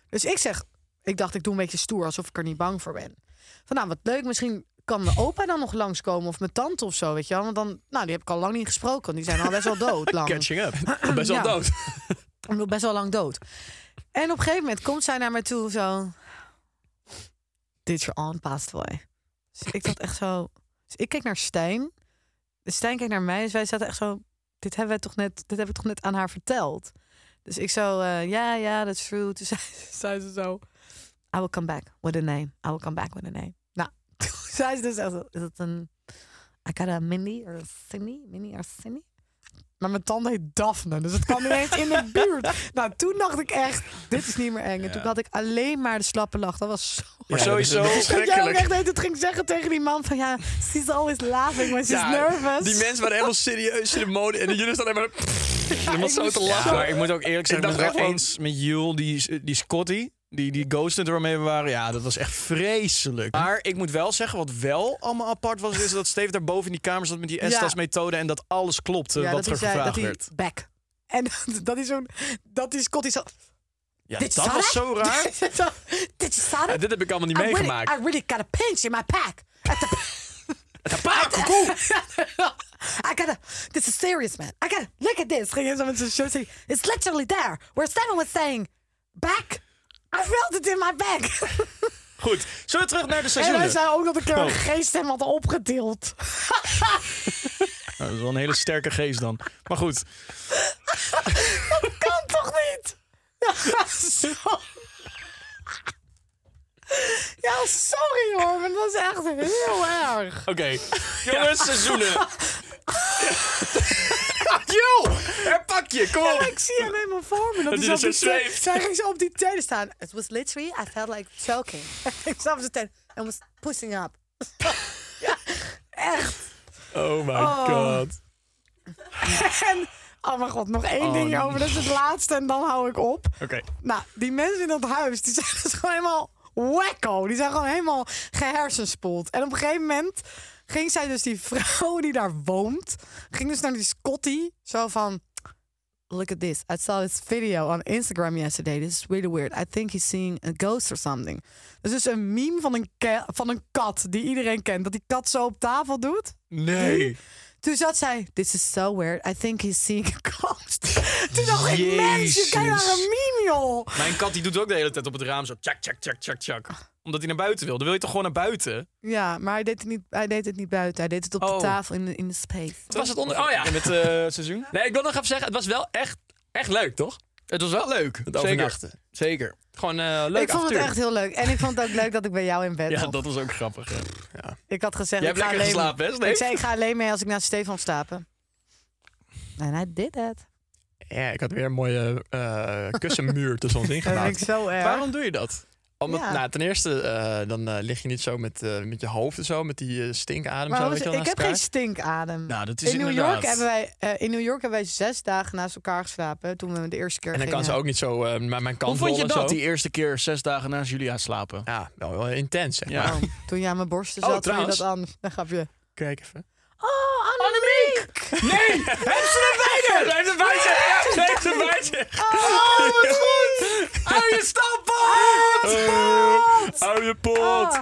Speaker 2: Dus ik zeg, ik dacht ik doe een beetje stoer alsof ik er niet bang voor ben. Van nou, wat leuk, misschien kan mijn opa dan nog langskomen of mijn tante of zo, weet je wel? Want dan, nou, die heb ik al lang niet gesproken, want die zijn al best wel dood lang.
Speaker 4: Catching up.
Speaker 3: Best wel
Speaker 2: Ja.
Speaker 3: dood.
Speaker 2: Ik bedoel, best wel lang dood. En op een gegeven moment komt zij naar me toe zo. Dit your on paastboy. Dus ik dacht echt zo... Dus ik keek naar Stijn. Dus Stijn keek naar mij. Dus wij zaten echt zo... Dit hebben we toch net, dit hebben we toch net aan haar verteld? Dus ik zo... eh, Ja, ja, that's true. Toen zei, zei ze zo... I will come back with a name. I will come back with a name. Nou, toen zei ze dus echt... zo, Is dat een... I got a Mindy or a Cindy? Mindy or Cindy? Maar mijn tand heet Daphne, dus het kwam ineens in de buurt. Nou, toen dacht ik echt, dit is niet meer eng. En toen had ik alleen maar de slappe lach. Dat was zo...
Speaker 3: Maar
Speaker 4: sowieso-
Speaker 2: Dat jij ook
Speaker 4: Schrikkelijk.
Speaker 2: echt het ging zeggen tegen die man van... Ja, she's always laughing, maar she's nervous.
Speaker 3: Die mensen waren helemaal serieus in de mode. En jullie staan alleen maar...
Speaker 2: ik
Speaker 3: Iemand zo
Speaker 2: moest
Speaker 3: te
Speaker 2: zo-
Speaker 3: lachen.
Speaker 4: Ja, maar ik moet ook eerlijk zijn, ik
Speaker 3: dacht
Speaker 4: ben het wel
Speaker 3: echt
Speaker 4: eens met Jule, die, die Scotty, die, die ghosted waarmee we waren. Ja, dat was echt vreselijk. Maar ik moet wel zeggen, wat wel allemaal apart was, is dat Steve daar boven in die kamer zat met die
Speaker 2: Ja.
Speaker 4: Estas-methode en dat alles klopte
Speaker 2: ja,
Speaker 4: wat er
Speaker 2: dat hij zei,
Speaker 4: gevraagd
Speaker 2: dat hij
Speaker 4: werd.
Speaker 2: back. En dat, dat is zo'n... Dat is Scotty zo...
Speaker 4: Ja,
Speaker 2: Dit is
Speaker 4: dat was zo raar.
Speaker 2: zo, Dit is Sarah.
Speaker 3: dit heb ik allemaal niet
Speaker 2: I really,
Speaker 3: meegemaakt.
Speaker 2: I really got a pinch in my pack.
Speaker 4: Pa, koekoe!
Speaker 2: I gotta, this is serious, man. I gotta, look at this. Ging hij zo met zijn shirt zeggen, It's literally there. Where Simon was saying, back. I felt it in my back.
Speaker 4: Goed, zullen we terug naar de
Speaker 2: En
Speaker 4: seizoenen?
Speaker 2: hij zei ook dat een keer een geest hem had opgetild.
Speaker 4: Nou, dat is wel een hele sterke geest dan. Maar goed,
Speaker 2: kan toch niet? Ja, zo. Ja, sorry hoor, maar dat is echt heel erg.
Speaker 3: Oké. Jongens, seizoenen.
Speaker 4: Yo, er pak je, kom
Speaker 2: Ja,
Speaker 4: op.
Speaker 2: ik zie hem helemaal voor me. Dat,
Speaker 3: hij
Speaker 2: is
Speaker 3: er
Speaker 2: op
Speaker 3: zo
Speaker 2: die te-
Speaker 3: zweeft.
Speaker 2: Zij ging zo op die tenen staan. It was literally, I felt like choking. ik zag op zijn teen en was pushing up. ja, echt.
Speaker 3: Oh my
Speaker 2: Oh.
Speaker 3: god.
Speaker 2: En, oh mijn god, nog één ding over. Dat is het laatste en dan hou ik op.
Speaker 4: Oké,
Speaker 2: Nou, die mensen in dat huis, die zijn dus gewoon helemaal wacko. Die zijn gewoon helemaal gehersenspoeld. En op een gegeven moment ging zij dus die vrouw die daar woont, ging dus naar die Scotty, zo van... Look at this. I saw this video on Instagram yesterday. This is really weird. I think he's seeing a ghost or something. Dus is een meme van een, ke- van een kat die iedereen kent. Dat die kat zo op tafel doet.
Speaker 4: nee.
Speaker 2: Toen zat zij, this is so weird, I think he's seeing a ghost. Toen dacht ik, mens, je
Speaker 4: Jezus.
Speaker 2: kijkt naar een meme, joh.
Speaker 4: Mijn kat die doet ook de hele tijd op het raam zo tjak, tjak, tjak, tjak, tjak. Omdat hij naar buiten wil. Dan wil je toch gewoon naar buiten?
Speaker 2: Ja, maar hij deed het niet, hij deed het niet buiten. Hij deed het op
Speaker 4: Oh.
Speaker 2: de tafel in de, in de space.
Speaker 3: Wat was het onder... Oh ja.
Speaker 4: En met eh, het seizoen?
Speaker 3: Nee, ik wil nog even zeggen. Het was wel echt, echt leuk, toch?
Speaker 4: Het was wel leuk.
Speaker 3: Het overnachten.
Speaker 4: Zeker.
Speaker 3: Gewoon eh leuk
Speaker 2: ik vond
Speaker 3: avontuur.
Speaker 2: het echt heel leuk. En ik vond het ook leuk dat ik bij jou in bed
Speaker 4: Ja,
Speaker 2: mocht.
Speaker 4: dat was ook grappig. hè.
Speaker 2: Ik had gezegd...
Speaker 4: Jij
Speaker 2: ik
Speaker 4: hebt
Speaker 3: nou,
Speaker 2: ga
Speaker 4: lekker
Speaker 2: alleen-
Speaker 4: geslapen, hè, Steve?
Speaker 2: Ik zei, ik ga alleen mee als ik naar Stefan stapen. En hij did het.
Speaker 3: Ja, ik had weer een mooie eh, kussenmuur tussen ons
Speaker 2: Dat
Speaker 3: ingebouwd.
Speaker 2: vind ik zo erg.
Speaker 4: Waarom doe je dat?
Speaker 3: Omdat,
Speaker 2: Ja.
Speaker 3: nou, ten eerste, eh, dan eh, lig je niet zo met, eh, met je hoofd en zo, met die eh, stinkadem.
Speaker 2: Maar
Speaker 3: zo,
Speaker 2: hoe
Speaker 3: weet
Speaker 2: is-
Speaker 3: je wel,
Speaker 2: ik
Speaker 3: naast
Speaker 2: heb geen
Speaker 3: elkaar.
Speaker 2: stinkadem.
Speaker 4: Nou, dat is
Speaker 2: in, New
Speaker 4: inderdaad-
Speaker 2: York hebben wij, eh, in New York hebben wij zes dagen naast elkaar geslapen toen we de eerste keer
Speaker 3: En dan kan ze
Speaker 2: gingen.
Speaker 3: ook niet zo eh, maar mijn kant
Speaker 4: Hoe vond je
Speaker 3: rollen en
Speaker 4: dat,
Speaker 3: zo.
Speaker 4: die eerste keer zes dagen naast jullie aan slapen?
Speaker 3: Ja, wel, wel intens, zeg
Speaker 4: Ja.
Speaker 3: maar.
Speaker 2: Oh, toen jij aan mijn borsten
Speaker 3: Oh,
Speaker 2: zat, vond je
Speaker 3: trouwens.
Speaker 2: dat anders. Dan gaf je...
Speaker 3: Kijk even.
Speaker 2: Oh, Annemiek!
Speaker 3: Nee! Heb ze erbij! Heb ze erbij! Heb ze erbij!
Speaker 2: Oh, wat goed!
Speaker 3: Hou je stap Oh, Hou je pot!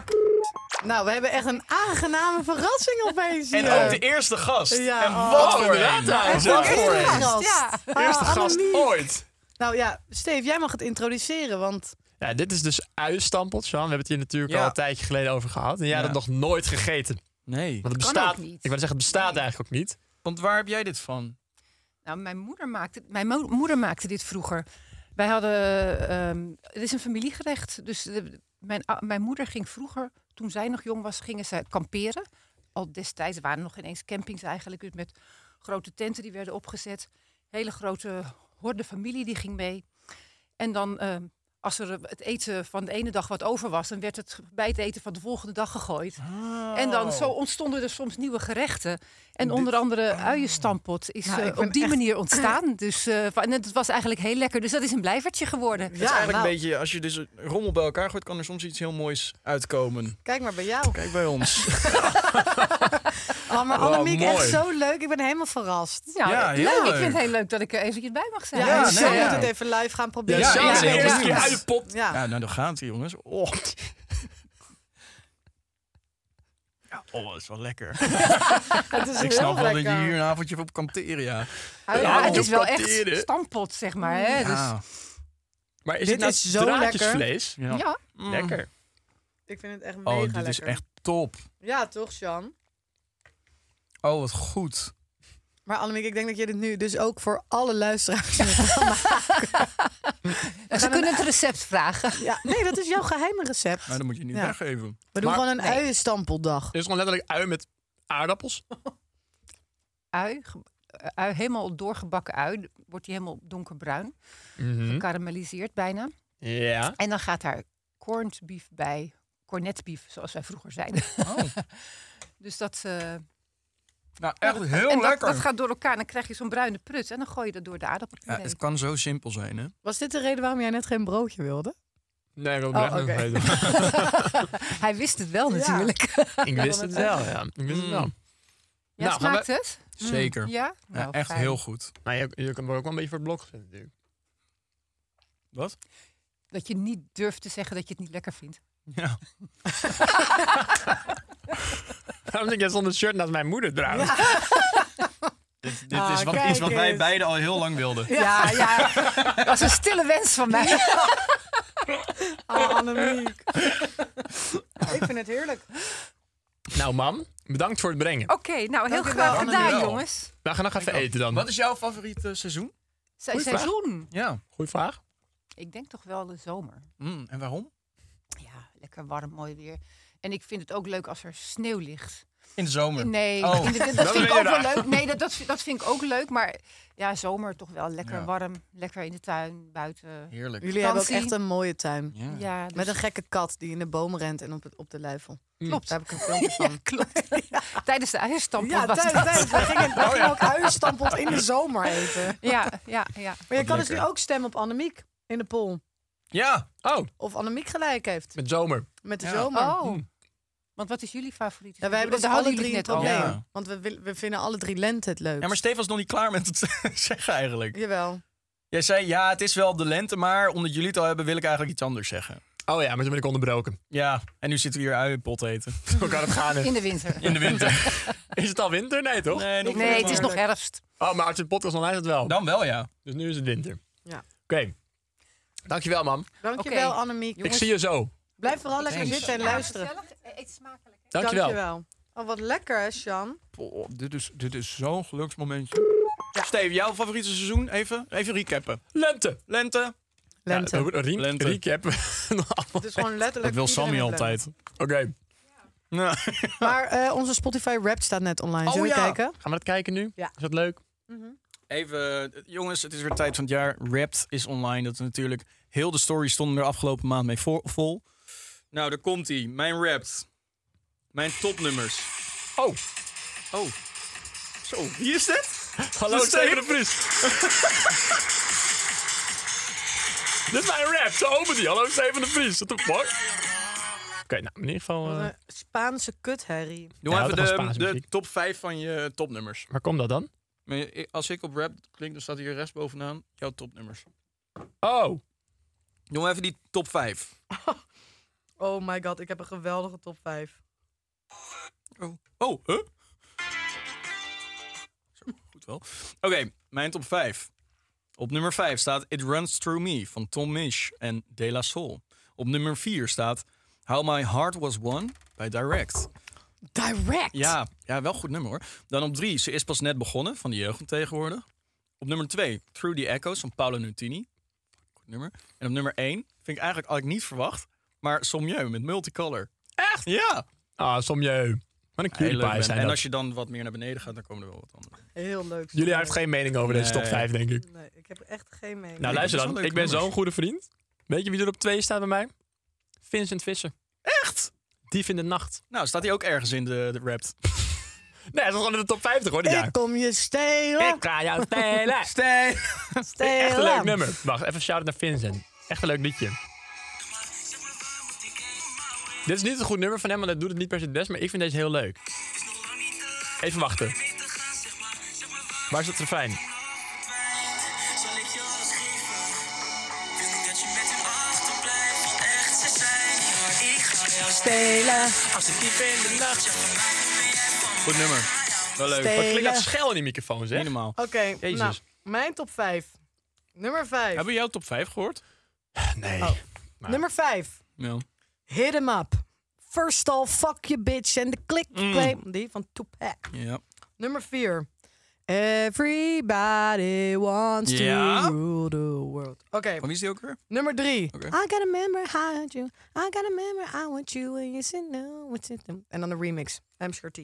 Speaker 2: Nou, we hebben echt een aangename verrassing opeens
Speaker 4: En
Speaker 2: hier.
Speaker 4: ook de eerste gast.
Speaker 2: Ja,
Speaker 4: en
Speaker 2: oh.
Speaker 4: wat
Speaker 3: Oh,
Speaker 4: voor
Speaker 3: inderdaad,
Speaker 4: een.
Speaker 3: daar.
Speaker 4: Wat
Speaker 3: Ja,
Speaker 4: voor
Speaker 2: Eerste
Speaker 4: een.
Speaker 2: gast, ja.
Speaker 3: Eerste
Speaker 2: Ah,
Speaker 3: gast
Speaker 2: Annemiek.
Speaker 3: ooit!
Speaker 2: Nou ja, Steve, jij mag het introduceren, want...
Speaker 3: Ja, dit is dus uistampot, Sean. We hebben het hier natuurlijk
Speaker 4: Ja.
Speaker 3: al een tijdje geleden over gehad. En jij had
Speaker 4: Ja.
Speaker 3: het nog nooit gegeten.
Speaker 4: Nee.
Speaker 3: Want het
Speaker 7: Kan
Speaker 3: bestaat
Speaker 7: ook niet.
Speaker 3: Ik wil zeggen, het bestaat
Speaker 7: Nee.
Speaker 3: eigenlijk ook niet.
Speaker 4: Want waar heb jij dit van?
Speaker 7: Nou, mijn moeder maakte, mijn mo- moeder maakte dit vroeger. Wij hadden, ehm, het is een familiegerecht. Dus de- mijn, ou- mijn moeder ging vroeger, toen zij nog jong was, gingen ze kamperen. Al destijds waren er nog ineens campings eigenlijk. dus Met grote tenten die werden opgezet. Hele grote horde familie die ging mee. En dan, ehm, als er het eten van de ene dag wat over was, dan werd het bij het eten van de volgende dag gegooid.
Speaker 2: Oh.
Speaker 7: En dan zo ontstonden er soms nieuwe gerechten. En onder andere uienstampot is
Speaker 2: Oh. Nou,
Speaker 7: eh,
Speaker 2: ik ben
Speaker 7: op die
Speaker 2: echt-
Speaker 7: manier ontstaan. Dus eh, va- en het was eigenlijk heel lekker. Dus dat is een blijvertje geworden.
Speaker 4: Het is eigenlijk
Speaker 2: nou,
Speaker 4: een beetje, als je dus rommel bij elkaar gooit, kan er soms iets heel moois uitkomen.
Speaker 2: kijk maar bij jou.
Speaker 4: Kijk bij ons.
Speaker 2: Oh, maar Annemiek,
Speaker 4: mooi.
Speaker 2: echt zo leuk. Ik ben helemaal verrast.
Speaker 7: Nou,
Speaker 4: Ja, heel
Speaker 7: leuk. Ik
Speaker 4: leuk.
Speaker 7: vind het heel leuk dat ik er eventjes bij mag zijn.
Speaker 2: Ja,
Speaker 4: Ja,
Speaker 2: en
Speaker 4: nee,
Speaker 2: zo
Speaker 4: ja.
Speaker 2: moet het even live gaan proberen.
Speaker 4: Ja,
Speaker 3: zo
Speaker 4: ja,
Speaker 3: is de
Speaker 4: ja,
Speaker 3: eerste
Speaker 4: ja.
Speaker 3: keer uit de pot.
Speaker 2: Ja.
Speaker 4: Ja, nou, dan gaat hij, jongens. Oh. Ja, oh, dat is wel lekker.
Speaker 2: het is
Speaker 4: ik
Speaker 2: heel
Speaker 4: snap wel dat je
Speaker 2: lekker.
Speaker 4: hier een avondje op kanteren, ja.
Speaker 7: Ja,
Speaker 3: Ja,
Speaker 7: het is wel
Speaker 3: kamperen.
Speaker 7: echt stampot, zeg maar. Hè? Dus,
Speaker 4: Ja.
Speaker 3: Maar is
Speaker 2: Dit
Speaker 3: het nou
Speaker 2: is zo lekker.
Speaker 3: draadjesvlees?
Speaker 7: ja.
Speaker 4: Mm.
Speaker 3: Lekker.
Speaker 2: Ik vind het echt mega
Speaker 4: Oh, dit
Speaker 2: lekker.
Speaker 4: is echt top.
Speaker 2: Ja, toch, Sjan?
Speaker 4: Oh, wat goed.
Speaker 2: Maar Annemiek, ik denk dat je dit nu dus ook voor alle luisteraars...
Speaker 7: Ze kunnen het recept vragen.
Speaker 2: ja, nee, dat is jouw geheime recept.
Speaker 4: Maar dat Nou, moet je niet
Speaker 2: Ja.
Speaker 4: weggeven. Het
Speaker 2: We doen
Speaker 3: Maar-
Speaker 2: gewoon een uienstampeldag.
Speaker 3: is gewoon letterlijk ui met aardappels.
Speaker 7: Ui, ge- eh, ui, helemaal doorgebakken ui, wordt die helemaal
Speaker 4: Hm?
Speaker 7: donkerbruin, gekarameliseerd bijna.
Speaker 3: Mhm. Ja.
Speaker 7: En dan gaat daar corned beef bij, cornet beef, zoals wij vroeger zeiden.
Speaker 4: Oh.
Speaker 7: dus dat... eh,
Speaker 4: Nou, echt
Speaker 7: dat-
Speaker 4: heel
Speaker 7: en dat-
Speaker 4: Oh, lekker.
Speaker 7: Dat, gaat door elkaar en dan krijg je zo'n bruine prut. En dan gooi je dat door de
Speaker 4: ja,
Speaker 7: aardappelpuree.
Speaker 4: het kan zo simpel zijn,
Speaker 7: Mm,
Speaker 4: hè?
Speaker 2: Was dit de reden waarom jij net geen broodje wilde?
Speaker 3: Nee, ik wil
Speaker 2: Oh,
Speaker 3: het oh,
Speaker 2: oké.
Speaker 7: Hij wist het wel natuurlijk. Ja,
Speaker 3: Ik wist het wel, ja. Ik wist het wel. Nou, gaan we-
Speaker 7: smaakt het?
Speaker 4: Zeker.
Speaker 7: Ja?
Speaker 4: Ja,
Speaker 7: Nou,
Speaker 4: echt
Speaker 7: fijn.
Speaker 4: heel goed.
Speaker 3: Maar je, je kan ook wel een beetje voor het blok zetten natuurlijk.
Speaker 4: Wat?
Speaker 7: Dat je niet durft te zeggen dat je het niet lekker vindt.
Speaker 4: Ja.
Speaker 3: Waarom denk jij zonder shirt naast mijn moeder trouwens?
Speaker 4: Dit, dit
Speaker 2: Ah,
Speaker 4: is wat,
Speaker 2: kijk
Speaker 4: iets wat wij
Speaker 2: eens.
Speaker 4: beiden al heel lang wilden.
Speaker 7: Ja, ja. Dat was een stille wens van mij.
Speaker 2: Ah, Annemiek. ik vind het heerlijk.
Speaker 3: Nou, mam, bedankt voor het brengen.
Speaker 7: Oké, nou heel
Speaker 2: Dank je
Speaker 7: graag
Speaker 2: wel.
Speaker 7: gedaan,
Speaker 4: Dankjewel.
Speaker 7: jongens.
Speaker 3: We gaan nog even eten dan.
Speaker 4: Wat is jouw favoriet eh, seizoen?
Speaker 7: Zijn
Speaker 3: Goeie vraag.
Speaker 7: seizoen.
Speaker 4: Ja.
Speaker 3: Goeie vraag.
Speaker 7: Ik denk toch wel de zomer.
Speaker 4: Mm, en waarom?
Speaker 7: Ja, lekker warm, mooi weer. En ik vind het ook leuk als er sneeuw ligt.
Speaker 4: In de zomer.
Speaker 7: Nee,
Speaker 4: Oh,
Speaker 7: in de- dat,
Speaker 3: dat
Speaker 7: vind ik
Speaker 3: ben
Speaker 7: ook
Speaker 3: je
Speaker 7: wel leuk. Nee, dat, dat, vind- dat vind ik ook leuk. Maar ja, zomer toch wel lekker
Speaker 4: Ja.
Speaker 7: warm. Lekker in de tuin, buiten.
Speaker 4: Heerlijk.
Speaker 2: Jullie hebben ook
Speaker 7: Vakantie.
Speaker 2: echt een mooie tuin.
Speaker 4: Ja.
Speaker 7: Ja, dus- mm,
Speaker 2: Met een gekke kat die in de boom rent en op, het, op de luifel.
Speaker 7: klopt.
Speaker 2: Daar heb ik een filmpje van.
Speaker 7: Ja, klopt. Tijdens de uierstamp
Speaker 2: Ja,
Speaker 7: was
Speaker 2: thuis,
Speaker 7: dat. Oh,
Speaker 2: thuis. We gingen, we gingen ook uienstampeld in de zomer eten.
Speaker 7: Ja, ja, ja.
Speaker 2: Maar je kan dus nu
Speaker 3: lekker.
Speaker 2: ook stemmen op Annemiek in de poll.
Speaker 4: Ja.
Speaker 3: Oh,
Speaker 2: Of Annemiek gelijk heeft
Speaker 3: met zomer.
Speaker 2: met de
Speaker 4: Ja.
Speaker 2: zomer.
Speaker 7: Oh. Want wat is jullie favoriete?
Speaker 2: Ja, wij hebben
Speaker 7: seizoen?
Speaker 2: dus
Speaker 7: Daar
Speaker 2: alle
Speaker 7: hadden
Speaker 2: drie
Speaker 7: jullie
Speaker 2: een
Speaker 7: het net over.
Speaker 2: probleem.
Speaker 4: over. Ja.
Speaker 2: Want we, wil- we vinden alle drie lente het leuk.
Speaker 4: Ja, maar Stefan is nog niet klaar met het zeggen eigenlijk.
Speaker 2: Jawel.
Speaker 4: Jij zei, ja, het is wel de lente, maar omdat jullie het al hebben, wil ik eigenlijk iets anders zeggen.
Speaker 3: Oh ja, maar toen ben ik onderbroken.
Speaker 4: Ja, en nu zitten we hier uienpot eten.
Speaker 3: Hoe kan het gaan? hè?
Speaker 7: In de winter.
Speaker 4: In de winter.
Speaker 3: Is het al winter? Nee, toch?
Speaker 4: Nee, nog
Speaker 7: Nee, het is
Speaker 4: maar.
Speaker 7: nog herfst.
Speaker 3: Oh, maar als je de podcast online is het wel.
Speaker 4: Dan wel, ja.
Speaker 3: Dus nu is het winter.
Speaker 2: Ja.
Speaker 3: Oké. Dankjewel, mam.
Speaker 2: Dankjewel
Speaker 7: Oké.
Speaker 2: Annemiek.
Speaker 3: Ik zie je zo.
Speaker 2: Blijf vooral lekker
Speaker 4: Thanks.
Speaker 2: zitten en luisteren.
Speaker 7: Eet smakelijk.
Speaker 3: Dankjewel.
Speaker 2: Oh, wat lekker hè, Sjan.
Speaker 4: Oh, dit is, dit is zo'n geluksmomentje. Steve, jouw favoriete seizoen? Even, even recappen.
Speaker 3: Lente.
Speaker 4: Lente.
Speaker 2: Lente.
Speaker 3: Ja, we- re-
Speaker 4: Lente.
Speaker 3: Recap. Oké.
Speaker 2: het is gewoon letterlijk...
Speaker 4: Dat wil
Speaker 2: iedereen
Speaker 4: Sammy
Speaker 2: een lente.
Speaker 4: altijd. Ja.
Speaker 2: Maar eh, onze Spotify rap staat net online.
Speaker 4: Oh,
Speaker 2: Zullen we
Speaker 4: ja.
Speaker 2: kijken?
Speaker 3: Gaan we dat kijken nu?
Speaker 2: Ja.
Speaker 3: Is dat leuk?
Speaker 4: Even, eh, jongens, het is weer tijd van het jaar. Wrapped is online. Dat is natuurlijk heel de story stonden er afgelopen maand mee vo- vol. Nou, daar komt ie. Mijn Wrapped. Mijn topnummers.
Speaker 3: Oh,
Speaker 4: Oh. Zo, wie is dit?
Speaker 3: hallo
Speaker 4: Steven
Speaker 3: Steven de Vries. Dit is mijn rap. Zo open die. Hallo Steven de Vries. What the fuck? Oké, nou, in ieder geval... eh,
Speaker 2: Wat een Spaanse kut, Harry.
Speaker 4: Doe
Speaker 3: Ja,
Speaker 4: even
Speaker 3: dat was
Speaker 4: de,
Speaker 3: Spaanse
Speaker 4: de
Speaker 3: muziek.
Speaker 4: top 5 van je topnummers.
Speaker 3: waar komt dat dan?
Speaker 4: Maar je- Als ik op rap klink, dan staat hier rechts bovenaan jouw topnummers.
Speaker 3: Oh.
Speaker 4: Doe maar even die top 5.
Speaker 2: Oh my god, ik heb een geweldige top 5.
Speaker 4: Oh, huh? Zo, goed wel. Oké, mijn top 5. Op nummer 5 staat It Runs Through Me van Tom Misch en De La Soul. Op nummer 4 staat How My Heart Was Won bij Direct.
Speaker 2: Direct?
Speaker 4: Ja, ja, wel goed nummer hoor. Dan op 3, Ze Is Pas Net Begonnen van de jeugd tegenwoordig. Op nummer 2, Through the Echoes van Paolo Nutini. Goed nummer. En op nummer 1, vind ik eigenlijk had ik niet verwacht, maar Sommieu met Multicolor. Echt? Ja.
Speaker 3: Ah, somjeu. Wat een
Speaker 4: Heel leuk
Speaker 3: cutie pie
Speaker 4: band.
Speaker 3: zijn
Speaker 4: En
Speaker 3: dat.
Speaker 4: als je dan wat meer naar beneden gaat, dan komen er wel wat andere.
Speaker 2: Heel leuk.
Speaker 3: Jullie heeft geen mening over deze top
Speaker 4: Nee.
Speaker 3: 5, denk ik.
Speaker 2: Nee, ik heb echt geen mening.
Speaker 3: Nou,
Speaker 4: Nee,
Speaker 3: luister
Speaker 4: dat is wel
Speaker 3: dan.
Speaker 4: leuke
Speaker 3: Ik ben
Speaker 4: nummers.
Speaker 3: zo'n goede vriend. Weet je wie er op twee staat bij mij? Vincent Visser.
Speaker 4: Echt?
Speaker 3: Dief in de nacht.
Speaker 4: Nou, staat hij ook ergens in de, de rap.
Speaker 3: Nee, dat is gewoon in de top 50 hoor, dit
Speaker 2: ik
Speaker 3: jaar.
Speaker 2: kom je stelen.
Speaker 3: Ik ga jou spelen.
Speaker 4: Stay!
Speaker 2: stelen.
Speaker 3: Echt een leuk nummer. Wacht, even shout-out naar Vincent. Echt een leuk liedje. Dit is niet een goed nummer van hem, want hij doet het niet per se het best. Maar ik vind deze heel leuk. Even wachten. Waar is het refrein?
Speaker 2: Stelen.
Speaker 4: Goed nummer. Wel leuk.
Speaker 3: Wat
Speaker 2: Stay.
Speaker 3: Oh, klinkt dat
Speaker 2: Hele-
Speaker 3: schel in die microfoon, zeg?
Speaker 4: Helemaal.
Speaker 2: Oké,
Speaker 3: Jezus.
Speaker 2: nou, mijn top 5. Nummer 5.
Speaker 4: Hebben we jouw top 5 gehoord?
Speaker 3: Nee.
Speaker 2: Nummer 5.
Speaker 4: Ja.
Speaker 2: Hit 'em up. Verstal, Fuck You Bitch en de Click Play. Die van Tupac.
Speaker 4: Ja.
Speaker 2: Nummer 4. Everybody wants
Speaker 4: Ja.
Speaker 2: to rule the world. Oké,
Speaker 4: Van wie is die ook weer?
Speaker 2: nummer 3.
Speaker 4: Oké.
Speaker 2: I got a member, I want you. I got a member, I want you. And you said no, what's it? En dan de remix. I'm sure T.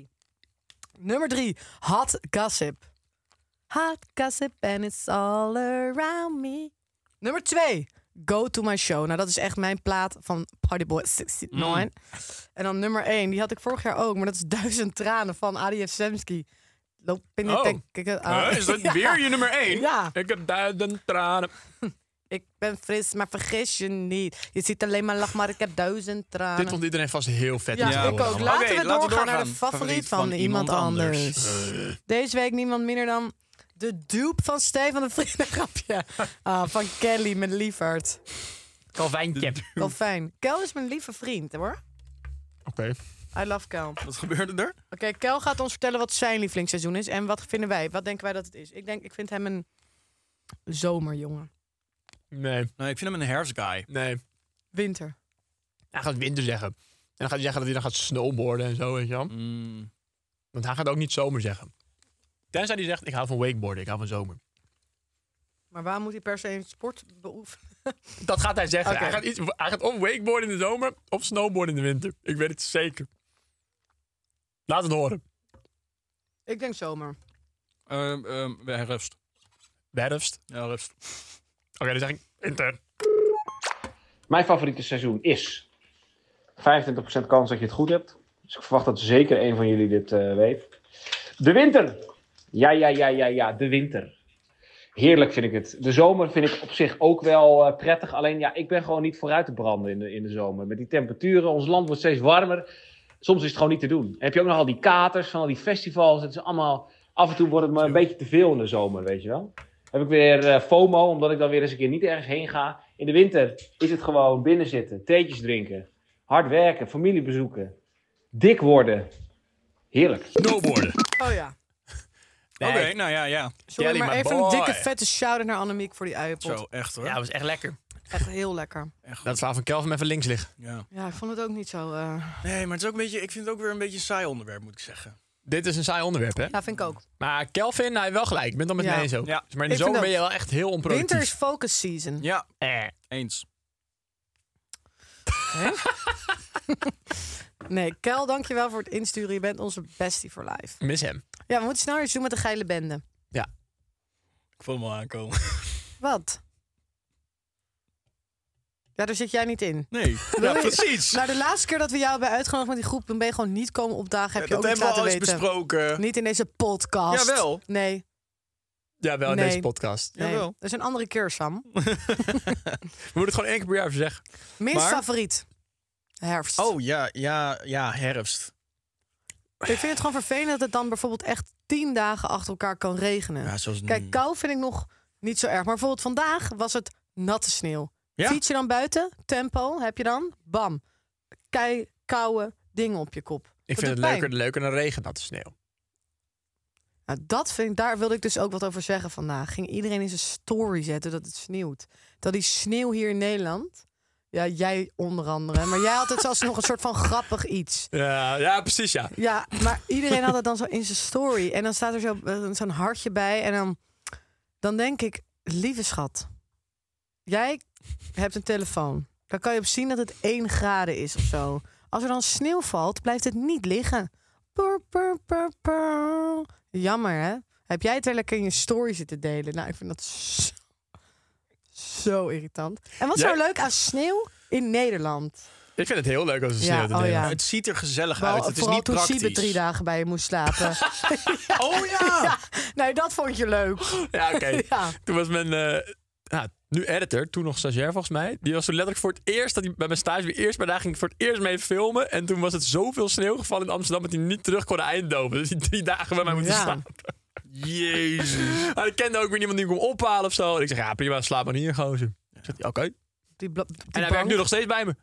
Speaker 2: Nummer 3. Hot Gossip. Hot Gossip and it's all around me. Nummer 2. Go to my show. Nou, dat is echt mijn plaat van Partyboy 69.
Speaker 3: Mm.
Speaker 2: En dan nummer 1. Die had ik vorig jaar ook, maar dat is Duizend Tranen van Adi Semsky. Loop in de
Speaker 3: Oh.
Speaker 2: tek- kijk ah. het aan.
Speaker 3: Huh, is dat
Speaker 2: Ja.
Speaker 3: weer je nummer 1?
Speaker 2: Ja.
Speaker 3: Ik heb duizend tranen.
Speaker 2: Ik ben fris, maar vergis je niet. Je ziet alleen maar lach, maar ik heb duizend tranen.
Speaker 3: Dit vond iedereen vast heel vet.
Speaker 2: Ah, ja,
Speaker 3: om te
Speaker 4: Ja,
Speaker 2: ik ook.
Speaker 3: horen
Speaker 2: Laten
Speaker 3: allemaal.
Speaker 4: Oké,
Speaker 2: we
Speaker 4: laten we
Speaker 2: doorgaan, naar
Speaker 4: doorgaan.
Speaker 2: de favoriet,
Speaker 4: Favoriet
Speaker 2: van, iemand anders. Deze week niemand minder dan de dupe van Stefan de Vrienden. Grapje. Ah, van Kelly, mijn lieverd.
Speaker 3: Kalfijntjep.
Speaker 2: Wel fijn. Kel is mijn lieve vriend, hoor.
Speaker 3: Oké.
Speaker 2: I love Kel. Oké,
Speaker 4: Wat gebeurde er?
Speaker 2: Kel gaat ons vertellen wat zijn lievelingsseizoen is. En wat vinden wij? Wat denken wij dat het is? Ik denk, ik vind hem een zomerjongen.
Speaker 3: Nee,
Speaker 4: Nee, Nou, ik vind hem een herfstguy.
Speaker 3: nee.
Speaker 2: Winter.
Speaker 3: Hij gaat winter zeggen. En dan gaat hij zeggen dat hij dan gaat snowboarden en zo, weet je wel.
Speaker 4: Mm.
Speaker 3: Want hij gaat ook niet zomer zeggen. Tenzij hij zegt, ik hou van wakeboarden, ik hou van zomer.
Speaker 2: Maar waarom moet hij per se een sport beoefenen?
Speaker 3: Dat gaat hij zeggen.
Speaker 2: Oké.
Speaker 3: Hij, gaat iets, hij gaat of wakeboarden in de zomer, of snowboarden in de winter. Ik weet het zeker. Laat het horen.
Speaker 2: Ik denk zomer.
Speaker 4: Ehm ehm, herfst.
Speaker 3: Werfst.
Speaker 4: Ja, herfst.
Speaker 3: Oké, dan zeg ik intern.
Speaker 8: Mijn favoriete seizoen is 25% kans dat je het goed hebt. Dus ik verwacht dat zeker een van jullie dit eh, weet. De winter. Ja, ja, ja, ja, ja, de winter. Heerlijk vind ik het. De zomer vind ik op zich ook wel eh, prettig. Alleen ja, ik ben gewoon niet vooruit te branden in de, in de zomer. Met die temperaturen, ons land wordt steeds warmer. Soms is het gewoon niet te doen. En heb je ook nog al die katers van al die festivals. Het is allemaal, af en toe wordt het me een beetje te veel in de zomer, weet je wel. Heb ik weer eh, FOMO, omdat ik dan weer eens een keer niet ergens heen ga. In de winter is het gewoon binnen zitten, theetjes drinken, hard werken, familie bezoeken, dik worden. Heerlijk.
Speaker 3: Snowboarden.
Speaker 2: Oh ja.
Speaker 4: Oké, nou ja, ja.
Speaker 2: Sorry,
Speaker 3: Jelly,
Speaker 2: maar
Speaker 3: my
Speaker 2: even een
Speaker 3: boy.
Speaker 2: dikke vette shout-out naar Annemiek voor die uienpot.
Speaker 4: Zo, echt hoor.
Speaker 3: Ja, was echt lekker.
Speaker 2: Echt heel lekker.
Speaker 3: Dat slaat van Kelvin even links liggen.
Speaker 4: Ja.
Speaker 2: Ja, ik vond het ook niet zo... eh,
Speaker 4: Nee, maar het is ook een beetje, ik vind het ook weer een beetje een saai onderwerp, moet ik zeggen.
Speaker 3: Dit is een saai onderwerp, hè?
Speaker 2: Ja, vind ik ook.
Speaker 3: Maar Kelvin, hij heeft wel gelijk. Ik ben het al met
Speaker 2: Ja.
Speaker 3: mij eens ook. Dus,
Speaker 4: Ja.
Speaker 3: Maar in de
Speaker 2: Ik vind
Speaker 3: zomer
Speaker 2: ook.
Speaker 3: ben je wel echt heel onproductief.
Speaker 2: Winter is focus season.
Speaker 4: Ja,
Speaker 3: Eh.
Speaker 4: eens.
Speaker 2: Nee, Kel, dankjewel voor het insturen. Je bent onze bestie voor life.
Speaker 3: Mis hem.
Speaker 2: Ja, we moeten snel iets doen met de geile bende.
Speaker 4: Ik voel me wel aankomen.
Speaker 2: Wat? Ja, daar zit jij niet in.
Speaker 4: Nee, ja,
Speaker 2: Wil je-
Speaker 4: precies.
Speaker 2: Nou, de laatste keer dat we jou hebben uitgenodigd met die groep, toen ben je gewoon niet komen opdagen. Heb je
Speaker 4: dat
Speaker 2: ook niet
Speaker 4: hebben we
Speaker 2: laten
Speaker 4: al eens
Speaker 2: weten.
Speaker 4: besproken.
Speaker 2: Niet in deze podcast.
Speaker 4: Jawel.
Speaker 2: Nee,
Speaker 3: Ja, wel in
Speaker 2: Nee.
Speaker 3: deze podcast.
Speaker 2: nee.
Speaker 4: Jawel.
Speaker 2: Dat is een andere keer, Sam.
Speaker 3: We moeten het gewoon één keer per jaar even zeggen.
Speaker 2: Minst
Speaker 4: Maar-
Speaker 2: favoriet. Herfst.
Speaker 4: Oh ja, ja, ja, herfst.
Speaker 2: Ik vind het gewoon vervelend dat het dan bijvoorbeeld echt tien dagen achter elkaar kan regenen.
Speaker 4: Ja, zoals
Speaker 2: Kijk, kou vind ik nog niet zo erg. Maar bijvoorbeeld vandaag was het natte sneeuw.
Speaker 4: Ja.
Speaker 2: Fiets je dan buiten, tempo heb je dan, bam. Kei, koude dingen op je kop.
Speaker 3: Ik vind het
Speaker 2: doet pijn.
Speaker 3: leuker, leuker dan regen, natte sneeuw.
Speaker 2: Nou, dat vind ik, daar wilde ik dus ook wat over zeggen vandaag. Ging iedereen in zijn story zetten dat het sneeuwt. Dat die sneeuw hier in Nederland... Ja, jij onder andere. Maar jij had het zelfs nog een soort van grappig iets.
Speaker 3: Ja, ja precies, ja.
Speaker 2: Ja, maar iedereen had het dan zo in zijn story. En dan staat er zo, eh, zo'n hartje bij. En dan, dan denk ik, lieve schat, jij hebt een telefoon. Daar kan je op zien dat het 1 graden is of zo. Als er dan sneeuw valt, blijft het niet liggen. Purr, purr, purr, purr. Jammer, hè? Heb jij het weer lekker in je story zitten delen? Nou, ik vind dat zo, zo irritant. En wat is
Speaker 3: Jij-
Speaker 2: zo leuk aan sneeuw in Nederland?
Speaker 3: Ik vind het heel leuk als het
Speaker 2: Ja,
Speaker 3: sneeuwt. in
Speaker 2: oh ja.
Speaker 3: Nederland.
Speaker 4: Het ziet er gezellig uit.
Speaker 2: Wel,
Speaker 4: Het is
Speaker 2: vooral
Speaker 4: niet
Speaker 2: toen
Speaker 4: praktisch.
Speaker 2: Siebe drie dagen bij je moest slapen.
Speaker 4: Oh ja!
Speaker 2: Nee, dat vond je leuk.
Speaker 3: Ja, oké.
Speaker 2: Ja.
Speaker 3: Toen was mijn... eh, nou, nu editor, toen nog stagiair volgens mij. Die was toen letterlijk voor het eerst dat hij bij mijn stage weer eerst, maar daar ging ik voor het eerst mee filmen. En toen was het zoveel sneeuw gevallen in Amsterdam dat hij niet terug kon naar Eindhoven. Dus die drie dagen bij mij moeten
Speaker 2: Ja.
Speaker 3: slapen. Jezus. Maar ik kende ook weer niemand die hem kon ophalen of zo. En ik zeg, ja prima, slaap maar hier, gozer. Zegt hij, oké.
Speaker 2: Die bla- die
Speaker 3: En hij
Speaker 2: band
Speaker 3: werkt nu nog steeds bij me.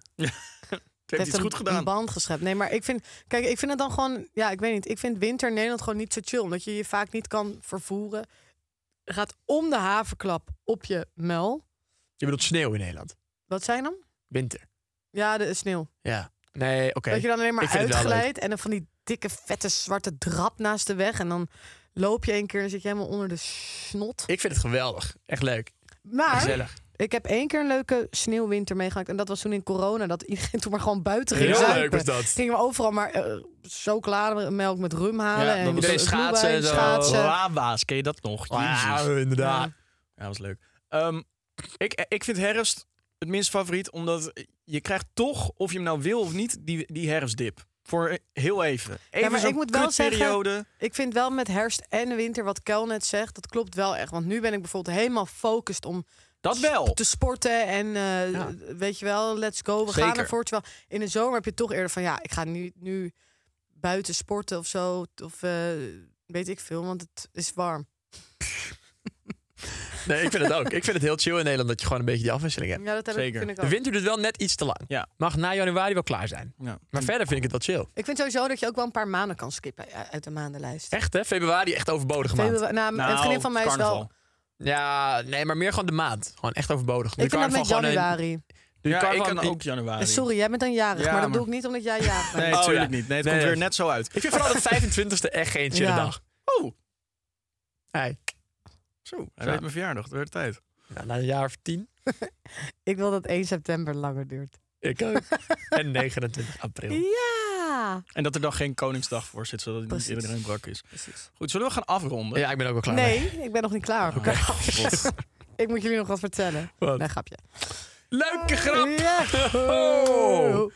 Speaker 4: heeft iets
Speaker 2: een,
Speaker 4: goed gedaan.
Speaker 2: een band geschept. Nee, maar ik vind, kijk, ik vind het dan gewoon, ja, ik weet niet. Ik vind winter in Nederland gewoon niet zo chill, omdat je je vaak niet kan vervoeren. Je gaat om de havenklap op je muil.
Speaker 3: Je bedoelt sneeuw in Nederland.
Speaker 2: Wat zijn dan?
Speaker 3: Winter.
Speaker 2: Ja, de sneeuw.
Speaker 3: Ja. Nee, oké.
Speaker 2: Dat je dan alleen
Speaker 3: Ik
Speaker 2: maar
Speaker 3: vind het wel leuk.
Speaker 2: uitgeleid en dan van die dikke, vette, zwarte drap naast de weg. En dan loop je een keer en dan zit je helemaal onder de snot.
Speaker 3: Ik vind het geweldig. Echt leuk.
Speaker 2: Maar
Speaker 3: Gezellig.
Speaker 2: ik heb één keer een leuke sneeuwwinter meegemaakt. En dat was toen in corona. Dat iedereen toen maar gewoon buiten ging
Speaker 3: Heel leuk
Speaker 2: zuipen.
Speaker 3: was dat.
Speaker 2: Gingen we overal maar eh, chocolademelk met rum halen.
Speaker 4: Ja,
Speaker 2: en
Speaker 4: dat was schaatsen en
Speaker 2: schaatsen.
Speaker 4: zo.
Speaker 2: schaatsen.
Speaker 4: Lava's, ken je dat nog?
Speaker 3: Ja,
Speaker 4: Jezus.
Speaker 3: inderdaad.
Speaker 4: Ja, dat was leuk. Ehm, ik, ik vind herfst het minst favoriet, omdat je krijgt toch, of je hem nou wil of niet, die, die herfstdip. Voor heel even. Even
Speaker 2: ja, maar
Speaker 4: zo'n
Speaker 2: ik moet wel
Speaker 4: kutperiode.
Speaker 2: zeggen, ik vind wel met herfst en winter wat Kel net zegt, dat klopt wel echt. Want nu ben ik bijvoorbeeld helemaal focused om
Speaker 4: Dat wel.
Speaker 2: te sporten en eh,
Speaker 4: Ja.
Speaker 2: weet je wel, let's go, we gaan
Speaker 4: Zeker.
Speaker 2: ervoor. Terwijl in de zomer heb je toch eerder van ja, ik ga nu, nu buiten sporten of zo, of eh, weet ik veel, want het is warm.
Speaker 3: Nee, ik vind het ook. Ik vind het heel chill in Nederland dat je gewoon een beetje die afwisseling hebt.
Speaker 2: Ja, dat heb ik- Zeker. vind ik ook.
Speaker 3: De winter duurt wel net iets te lang.
Speaker 4: Ja.
Speaker 3: Mag na januari wel klaar zijn.
Speaker 4: Ja.
Speaker 3: Maar verder vind ik het wel chill.
Speaker 2: Ik vind sowieso dat je ook wel een paar maanden kan skippen eh, uit de maandenlijst.
Speaker 3: Echt hè? Februari echt overbodig maand.
Speaker 2: Februari- nou, een
Speaker 4: Nou,
Speaker 2: vriendin van mij is wel.
Speaker 4: carnaval.
Speaker 2: Ik
Speaker 3: Ja, nee, maar meer gewoon de maand. Gewoon echt overbodig. Nu
Speaker 2: vind dat
Speaker 3: carnaval
Speaker 2: met
Speaker 3: gewoon een-
Speaker 2: januari. Eh,
Speaker 3: nu
Speaker 4: Ja, ik
Speaker 3: carnaval
Speaker 4: kan
Speaker 3: een-
Speaker 4: ook januari.
Speaker 2: Sorry, jij bent dan jarig,
Speaker 4: Ja,
Speaker 2: maar dat
Speaker 4: maar-
Speaker 2: doe ik niet omdat jij jarig bent.
Speaker 4: Nee,
Speaker 3: Oh,
Speaker 4: natuurlijk
Speaker 3: ja.
Speaker 4: niet. Nee, het
Speaker 3: Nee,
Speaker 4: komt
Speaker 3: dat-
Speaker 4: weer net zo uit.
Speaker 3: Ik vind vooral de 25e echt geen chille
Speaker 2: Ja.
Speaker 3: dag.
Speaker 4: Oh,
Speaker 3: Hey.
Speaker 4: zo. Hij
Speaker 3: Zo.
Speaker 4: weet mijn verjaardag. Het werd tijd.
Speaker 3: Ja, na een jaar of tien.
Speaker 2: Ik wil dat 1 september langer duurt.
Speaker 3: Ik ook. en 29 april.
Speaker 2: Ja!
Speaker 4: En dat er dan geen Koningsdag voor zit, zodat het niet
Speaker 2: Precies.
Speaker 4: iedereen brak is. Goed, zullen we gaan afronden?
Speaker 3: Ja, ik ben ook wel klaar mee.
Speaker 2: Nee, ik ben nog niet klaar.
Speaker 4: God.
Speaker 2: Ik moet jullie nog wat vertellen.
Speaker 3: Wat?
Speaker 2: Nee, grapje.
Speaker 3: Leuke grap!
Speaker 2: Ja.
Speaker 3: Oh.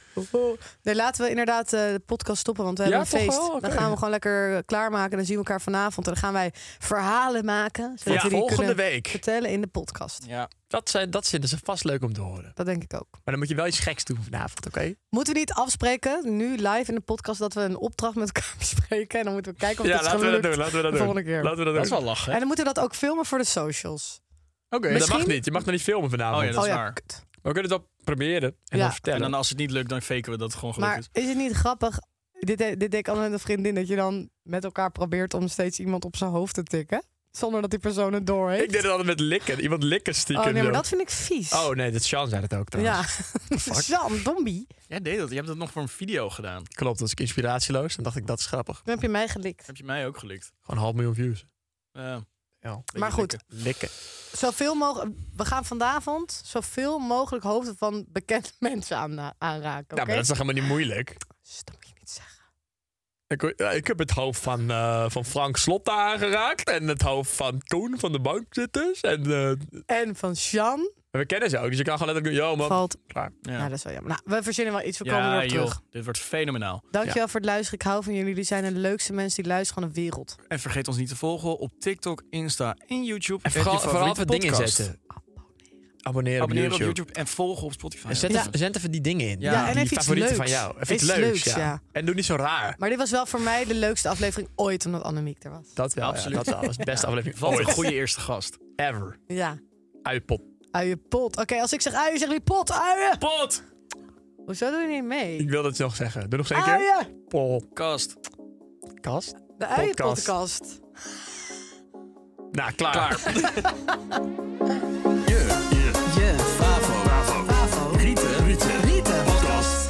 Speaker 2: Nee, laten we inderdaad eh, de podcast stoppen, want we
Speaker 3: Ja,
Speaker 2: hebben een
Speaker 3: toch
Speaker 2: feest.
Speaker 3: wel? Oké.
Speaker 2: Dan gaan we gewoon lekker eh, klaarmaken. Dan zien we elkaar vanavond. En dan gaan wij verhalen maken. Zodat
Speaker 3: Ja,
Speaker 2: we die
Speaker 3: volgende
Speaker 2: kunnen
Speaker 3: week.
Speaker 2: vertellen in de podcast.
Speaker 4: Ja.
Speaker 3: Dat, zijn, dat vinden ze vast leuk om te horen.
Speaker 2: Dat denk ik ook.
Speaker 3: Maar dan moet je wel iets geks doen vanavond, oké?
Speaker 2: Moeten we niet afspreken, nu live in de podcast, dat we een opdracht met elkaar bespreken. En dan moeten we kijken of het gelukt.
Speaker 3: Laten we dat
Speaker 2: de volgende keer.
Speaker 3: Laten we dat,
Speaker 4: Dat is
Speaker 3: doen.
Speaker 4: wel lachen.
Speaker 2: En dan moeten we dat ook filmen voor de socials.
Speaker 4: Oké,
Speaker 3: Nee, dat mag
Speaker 2: Misschien-
Speaker 3: niet. Je mag nog niet filmen vanavond.
Speaker 4: Oh ja, dat
Speaker 2: oh
Speaker 4: is
Speaker 2: ja,
Speaker 4: waar.
Speaker 2: kut.
Speaker 3: Maar we kunnen het wel proberen en
Speaker 2: Ja.
Speaker 3: dan
Speaker 4: En
Speaker 3: vertellen.
Speaker 4: dan als het niet lukt, dan faken we dat het gewoon gelukt
Speaker 2: Maar
Speaker 4: is.
Speaker 2: is het niet grappig? Dit, eh, dit deed ik al met een vriendin. Dat je dan met elkaar probeert om steeds iemand op zijn hoofd te tikken. Zonder dat die persoon het door heeft.
Speaker 3: ik deed het altijd met likken. Iemand likken stiekem.
Speaker 2: oh nee, maar
Speaker 3: doen.
Speaker 2: dat vind ik vies.
Speaker 3: Oh nee, dat Sean zei dat ook trouwens.
Speaker 2: ja, dat is wel een dombie.
Speaker 4: Jij deed dat. Je hebt dat nog voor een video gedaan.
Speaker 3: Klopt, dat is inspiratieloos. Dan dacht ik, dat is grappig.
Speaker 2: Dan heb je mij gelikt.
Speaker 4: Heb je mij ook gelikt. Eh,
Speaker 3: Gewoon een half miljoen views.
Speaker 4: Ja.
Speaker 3: Ja.
Speaker 2: Maar goed.
Speaker 4: likken.
Speaker 3: Likken. Nou,
Speaker 2: Zoveel mogelijk. We gaan vanavond zoveel mogelijk hoofden van bekende mensen aan, eh, aanraken.
Speaker 3: Nou, maar
Speaker 2: oké?
Speaker 3: dat is toch helemaal niet moeilijk?
Speaker 2: Sst, dat moet je niet zeggen.
Speaker 3: Ik, ja, ik heb het hoofd van, eh, van Frank Slotte aangeraakt. En het hoofd van Koen van de bankzitters. En eh,
Speaker 2: En van Sjan
Speaker 3: we kennen ze ook. Dus je kan gewoon letterlijk... Yo man,
Speaker 2: valt.
Speaker 3: klaar.
Speaker 4: Ja.
Speaker 2: Ja. dat is wel jammer. Nou, we verzinnen wel iets. We komen
Speaker 4: Ja,
Speaker 2: erop
Speaker 4: joh.
Speaker 2: terug.
Speaker 4: Dit wordt fenomenaal.
Speaker 2: Dankjewel voor het luisteren. Ik hou van jullie. Jullie zijn de leukste mensen die luisteren van de wereld.
Speaker 4: En vergeet ons niet te volgen op TikTok, Insta en YouTube.
Speaker 3: En
Speaker 4: Met
Speaker 3: vooral,
Speaker 4: je
Speaker 3: vooral
Speaker 4: favoriete
Speaker 3: even dingen
Speaker 4: podcast.
Speaker 3: inzetten. Abonneren op
Speaker 4: Abonneren
Speaker 3: YouTube.
Speaker 4: op YouTube en volgen op Spotify.
Speaker 3: En zet,
Speaker 2: Ja.
Speaker 3: even, zet even die dingen in.
Speaker 4: Ja,
Speaker 3: Die-
Speaker 4: en
Speaker 3: die
Speaker 2: even iets
Speaker 3: favorieten
Speaker 2: leuks.
Speaker 3: van jou. Even iets
Speaker 2: Iets
Speaker 3: leuks,
Speaker 2: leuks,
Speaker 3: ja.
Speaker 2: ja.
Speaker 3: En doe niet zo raar.
Speaker 2: Maar dit was wel voor mij de leukste aflevering ooit, omdat Annemiek er was.
Speaker 3: Dat wel,
Speaker 4: Absoluut.
Speaker 3: Absoluut. dat wel. Dat is de beste aflevering
Speaker 4: Wat een
Speaker 3: ooit.
Speaker 4: goede eerste gast.
Speaker 3: Ever.
Speaker 2: Ja.
Speaker 3: Uitpop.
Speaker 2: Uienpot. Oké, als ik zeg uien, zeggen jullie pot, uien.
Speaker 4: Pot!
Speaker 2: Hoezo doe je niet mee?
Speaker 3: Ik wil dat nog zeggen. Doe nog eens
Speaker 2: Ah,
Speaker 3: een keer.
Speaker 2: Uien.
Speaker 4: Kast.
Speaker 3: Podcast.
Speaker 2: De uienpodcast.
Speaker 3: Nou, klaar.
Speaker 4: Je. Favo. Favo. Rieten. Rieten. Podcast.